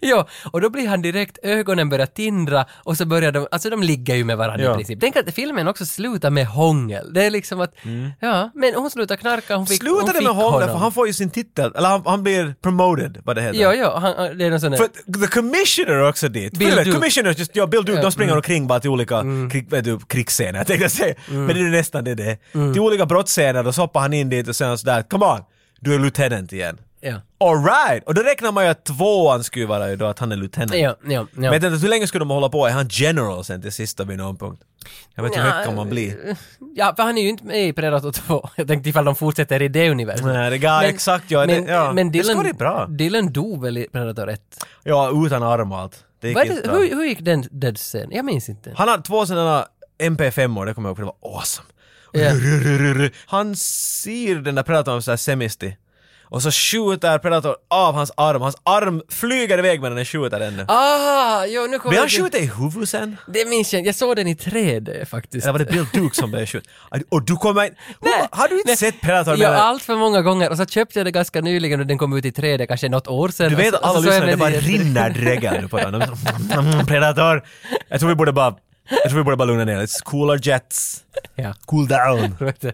Ja, och då blir han direkt, ögonen börjar tindra och så börjar de, alltså de ligger ju med varandra
Ja.
i princip. Tänk att filmen också slutar med hångel. Det är liksom att, ja, men hon slutar knarka, hon fick, hon
Mm. Slutade
fick
med honom, för
honom.
han får ju sin titel. Eller han, han blir promoted, vad det heter.
Ja, ja, han, det är någon sån där...
För att the commissioner är också dit.
Bill
Bill Duke.
Duke.
Commissioner, just, ja, Bill Duke, de
Mm.
springer omkring bara till olika krig, vet du, krigsscener, jag tänkte jag säga.
Mm.
Men det är nästan det det är. Till olika brottsscener, då så hoppar han in dit och sen sådär, come on, du är lieutenant igen.
Ja.
Alright! Och då räknar man ju att tvåan skulle vara ju då att han är lieutenant.
Ja, ja, ja.
Men jag tänkte, hur länge skulle de hålla på? Är han general sen till sist då vid någon punkt? Jag vet inte hur högt kan man bli?
Ja, för han är ju inte med i Predator 2. Jag tänkte ifall de fortsätter i det universumet.
Nej, det går exakt ja.
Men,
det, ja.
men
det skulle
Dylan,
vara bra.
Dylan dog väl i Predator 1?
Ja, utan arm och allt. Det gick
Vad är
inte
det,
bra.
hur, hur gick den dödsscenen? Jag minns inte.
Han hade två sådana MP5 or det kommer jag ihåg, för det var awesome.
Ja.
Rrrrrrrr. Han ser den där predatorn som semisti. Och så skjuter Predator av hans arm. Hans arm flyger iväg medan den skjuter ännu.
Ah, jo nu kommer
Blir
jag
han
till-
skjuten i huvudet sen?
Det minns jag Jag såg den i 3D faktiskt.
Eller var det Bill Duke som blev skjuten? Och du kommer in...
Nej.
Har du inte
Nej.
sett Predator?
Ja,
medan-
allt för många gånger. Och så köpte jag det ganska nyligen och den kom ut i 3D, kanske något år sedan.
Du vet
Och så-
att alla
och alltså, så såg jag
lyssnare, det bara
väldigt-
rinner dräggar nu på den. De är så, "Mm, Predator! Jag tror vi borde bara... Jag tror vi borde bara lugna ner oss. Cool our jets.
Ja.
Cool down.
Okej.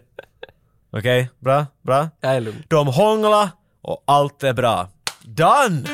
Okej, bra, bra.
Jag är lugn.
De hånglar och allt är bra. Done!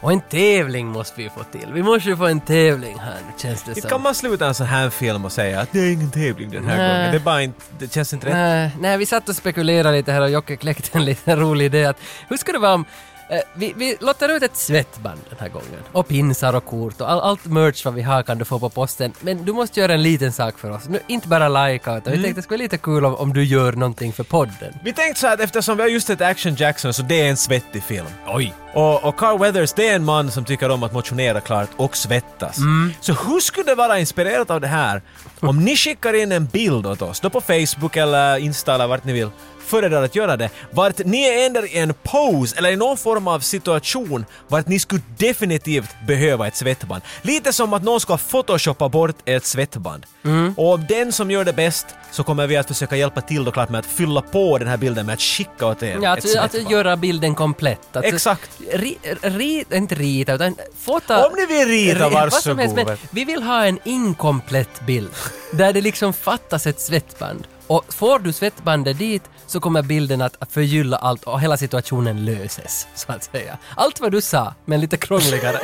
Och en tävling måste vi ju få till. Vi måste ju få en tävling här nu känns det
Kan
som.
man sluta en sån här film och säga att det är ingen tävling den här
Nej.
gången? Det är bara inte... Det känns inte rätt.
Nej, nej, vi satt och spekulerade lite här och Jocke kläckte en liten rolig idé att hur skulle det vara om eh, vi, vi lottar ut ett svettband den här gången. Och pinsar och kort och all, allt merch vad vi har kan du få på posten. Men du måste göra en liten sak för oss. Nu, inte bara lajka utan vi tänkte det skulle vara lite kul om, om du gör någonting för podden.
Vi tänkte så här att eftersom vi har just ett Action Jackson så det är en svettig film. Oj. Och, och Carl Weathers, det är en man som tycker om att motionera klart och svettas.
Mm.
Så hur skulle det vara inspirerat av det här om ni skickar in en bild åt oss, då på Facebook eller Insta eller vart ni vill, föredrar att göra det, vart ni är ändå i en pose eller i någon form av situation vart ni skulle definitivt behöva ett svettband. Lite som att någon ska photoshoppa bort ett svettband.
Mm.
Och om den som gör det bäst så kommer vi att försöka hjälpa till då klart med att fylla på den här bilden med att skicka åt er
Ja,
ett
att,
svettband.
att göra bilden komplett. Att
Exakt.
Ri, ri, inte rita, utan fota...
Om ni vill rita,
Ri- vad som helst,
varsågod.
men Vi vill ha en inkomplett bild, där det liksom fattas ett svettband. Och får du svettbandet dit så kommer bilden att att förgylla allt och hela situationen löses, så att säga. Allt vad du sa, men lite krångligare.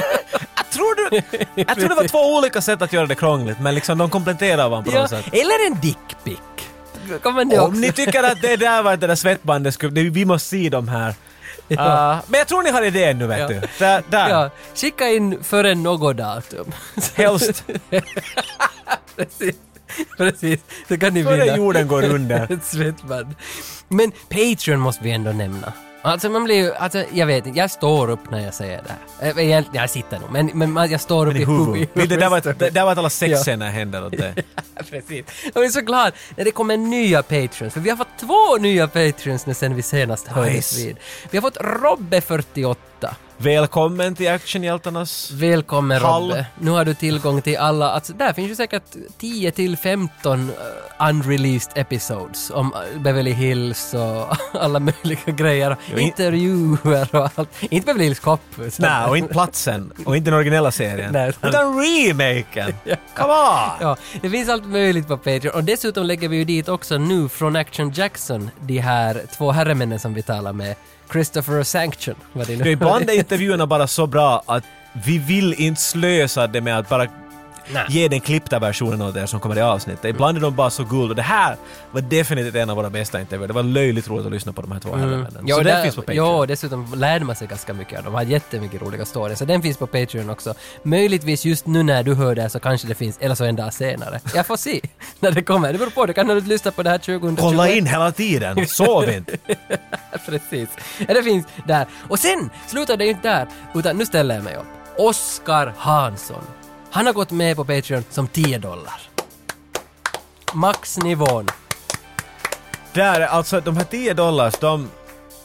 Jag tror, du, jag tror det var två olika sätt att göra det krångligt men liksom de kompletterar varandra på
ja,
något sätt.
eller en dickpic. Kommer det också?
Om ni tycker att det där var det där svettbandet skulle, det, vi måste se de här. Ah, men jag tror ni har idén nu vet
Ja.
du. Där, där.
Ja, skicka in före något datum.
Helst.
Precis. Precis, så kan ni
Före
vinna.
jorden går under.
Ett svettband. Men Patreon måste vi ändå nämna. Alltså man blir ju, alltså jag vet inte, jag står upp när jag säger det här. Eh, Egentligen, jag sitter nog, men, men man- jag står upp
Men i
i
huvudet. Det där var, det där var att alla sexscener
Ja.
händer åt dig.
Precis. Jag är så glad när det kommer nya Patreons, för vi har fått två nya Patreons nu sen vi senast hördes
Nice.
vid. Vi har fått Robbe48.
Välkommen till actionhjältarnas...
Välkommen
Hall.
Robbe. Nu har du tillgång till alla, alltså där finns ju säkert 10 till 15 eh, unreleased episodes om eh, Beverly Hills och alla möjliga grejer.
Jo, in-
Intervjuer och allt. Inte Beverly Hills Cop. så-
Nej, och inte platsen. Och inte den originella serien.
Nej.
Utan remaken! Come on!
Ja, det finns allt möjligt på Patreon och dessutom lägger vi ju dit också nu från Action Jackson de här två herremännen som vi talar med. Christopher och Sanction. Vad det nu
Du, ibland är intervjuerna bara så bra att vi vill inte slösa det med att bara ge den klippta versionen åt er som kommer i avsnittet. Ibland är de bara så guld och det här var definitivt en av våra bästa intervjuer. Det var löjligt roligt att lyssna på de här två herremännen.
Mm. Ja,
Så
där-
den finns på Patreon.
Ja, dessutom lärde man sig ganska mycket av dem. De har jättemycket roliga stories. Så den finns på Patreon också. Möjligtvis just nu när du hör det här så kanske det finns, eller så en dag senare. Jag får se när det kommer. Det beror på, du kan ha lyssna på det här 2021.
Kolla in hela tiden! Sov inte!
Precis. Ja, det finns där. Och sen slutar det ju inte där, utan nu ställer jag mig upp. Oskar Hansson. Han har gått med på Patreon som 10 dollar. Maxnivån.
Där, alltså de här 10 dollars, de,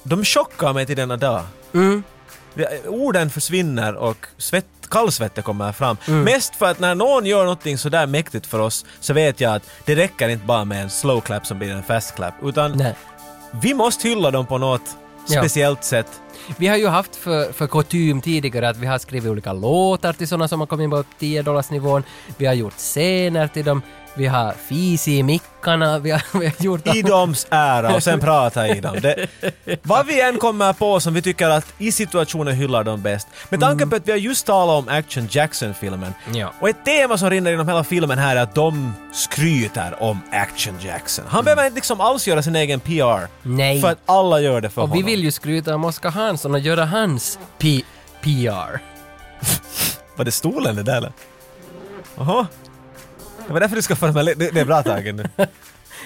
de chockar mig till denna dag.
Mm.
Det- Orden försvinner och svett, kallsvettet kommer fram.
Mm.
Mest för att när någon gör någonting sådär mäktigt för oss så vet jag att det räcker inte bara med en slow clap som blir en fast clap. Utan
Nej.
vi måste hylla dem på något
Ja.
speciellt sätt.
Vi har ju haft för, för kutym tidigare att vi har skrivit olika låtar till sådana som har kommit in på 10 dollarsnivån. Vi har gjort scener till dem. Vi har fis i mickarna. Vi har, vi har gjort...
I doms ära och sen prata i dem. Det, vad vi än kommer på som vi tycker att i situationen hyllar dem bäst. Med tanke på att vi har just talat om Action Jackson-filmen.
Mm. Ja.
Och ett tema som rinner genom hela filmen här är att de skryter om Action Jackson. Han behöver inte liksom alls göra sin egen PR.
Mm. Nej.
För att alla gör det för
Och
honom.
vi vill ju skryta om Oskar Hansson och göra hans P- PR.
Var det stolen det där eller? Jaha. Det var därför du ska föra med... Det, det är bra tagen nu.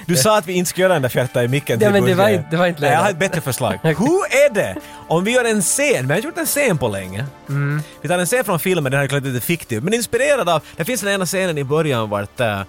Du sa att vi inte skulle göra den där fjärta i micken.
Ja,
till
men det var
början.
inte- det var inte
Nej, jag
lära.
har ett bättre förslag. Hur är det om vi gör en scen, vi har inte gjort en scen på länge.
Mm.
Vi tar en scen från filmen, den här är klart lite fiktiv, men inspirerad av, det finns den ena scenen i början vart eh,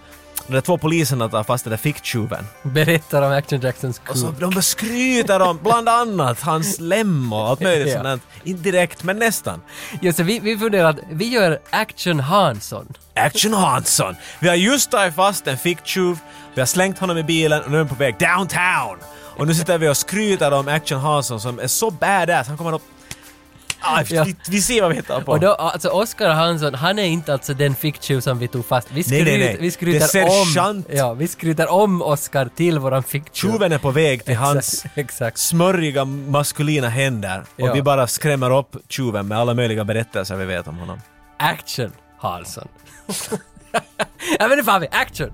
de där två poliserna tar fast den där ficktjuven.
Berättar om Action Jacksons
Och så
coup.
de skryter om bland annat hans lem och allt möjligt
Ja.
sånt sånt. där. Inte direkt, men nästan.
Ja, så vi, vi funderar att vi gör Action Hansson.
Action Hansson! Vi har just tagit fast en ficktjuv, vi har slängt honom i bilen och nu är han på väg downtown! Och nu sitter vi och skryter om Action Hansson som är så badass, han kommer upp... Ah,
Ja.
vi, vi ser vad vi hittar på.
Och då, alltså Oscar Hansson, han är inte alltså den ficktjuv som vi tog fast. Vi
Nej,
skryter,
nej, nej.
Vi
Det är
skryter om...
sergeant.
Ja, vi skryter om Oscar till våran ficktjuv.
Tjuven är på väg till hans
Exakt, exakt.
smörjiga maskulina händer och
Ja.
vi bara skrämmer upp tjuven med alla möjliga berättelser vi vet om honom.
Action Hansson. ja men nu får vi action!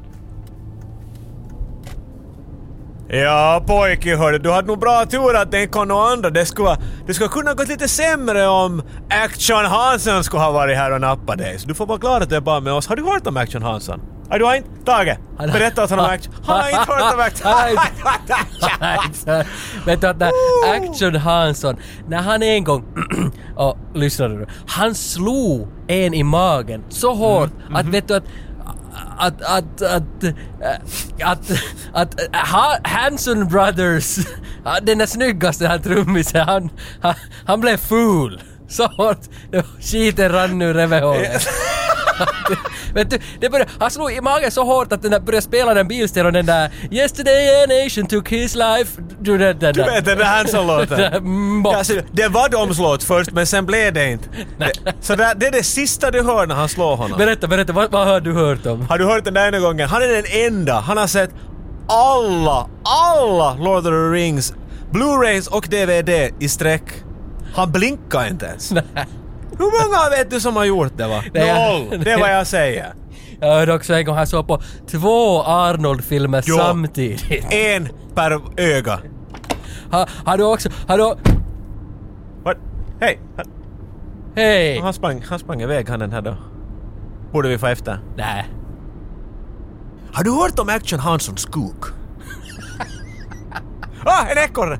Ja pojke hörru, du hade nog bra tur att den kom någon andra. Det skulle, det skulle kunna gått lite sämre om Action Hansen skulle ha varit här och nappat dig. Så du får vara glad att du är bara med oss. Har du hört om Action Hansen? Nej, du har inte? Tage, berätta åt honom om Action... Han har inte hört om Action...
Han har inte- Vet du att när Action Hansson, när han en gång, och lyssna nu, han slog en i magen så hårt att vet du att att, att, att, äh, att, att, äh, ha, Hanson Brothers, ja, den där snyggaste här trummisen, han, han, han blev ful. Så hårt, det var- skiten rann ur revehålet. Vet du, det började, han slog i magen så hårt att den där började spela den bilstereo och den där “Yesterday a nation took his life”. Du, den, den
Du vet den där Hansen-låten?
där.
Ja, så det var Doms låt först, men sen blev det inte. Det, så det, det är det sista du hör när han slår honom.
Berätta, berätta, vad, vad har du hört om?
Har du hört den där ena gången? Han är den enda. Han har sett alla, alla Lord of the Rings, Blu-rays och DVD i sträck. Han blinkar inte ens. Hur många vet du som har gjort det va?
Nej, jag-
Noll! Det är vad jag säger.
Jag hörde också en gång han såg på två Arnold-filmer
Ja.
samtidigt.
En per öga.
Ha, har du också, har du,
Vad? Hej!
hej!
Han sprang, han sprang iväg han den här då. Borde vi få efter.
Nej.
Har du hört om Action Hansons kuk? ah, en ekorre!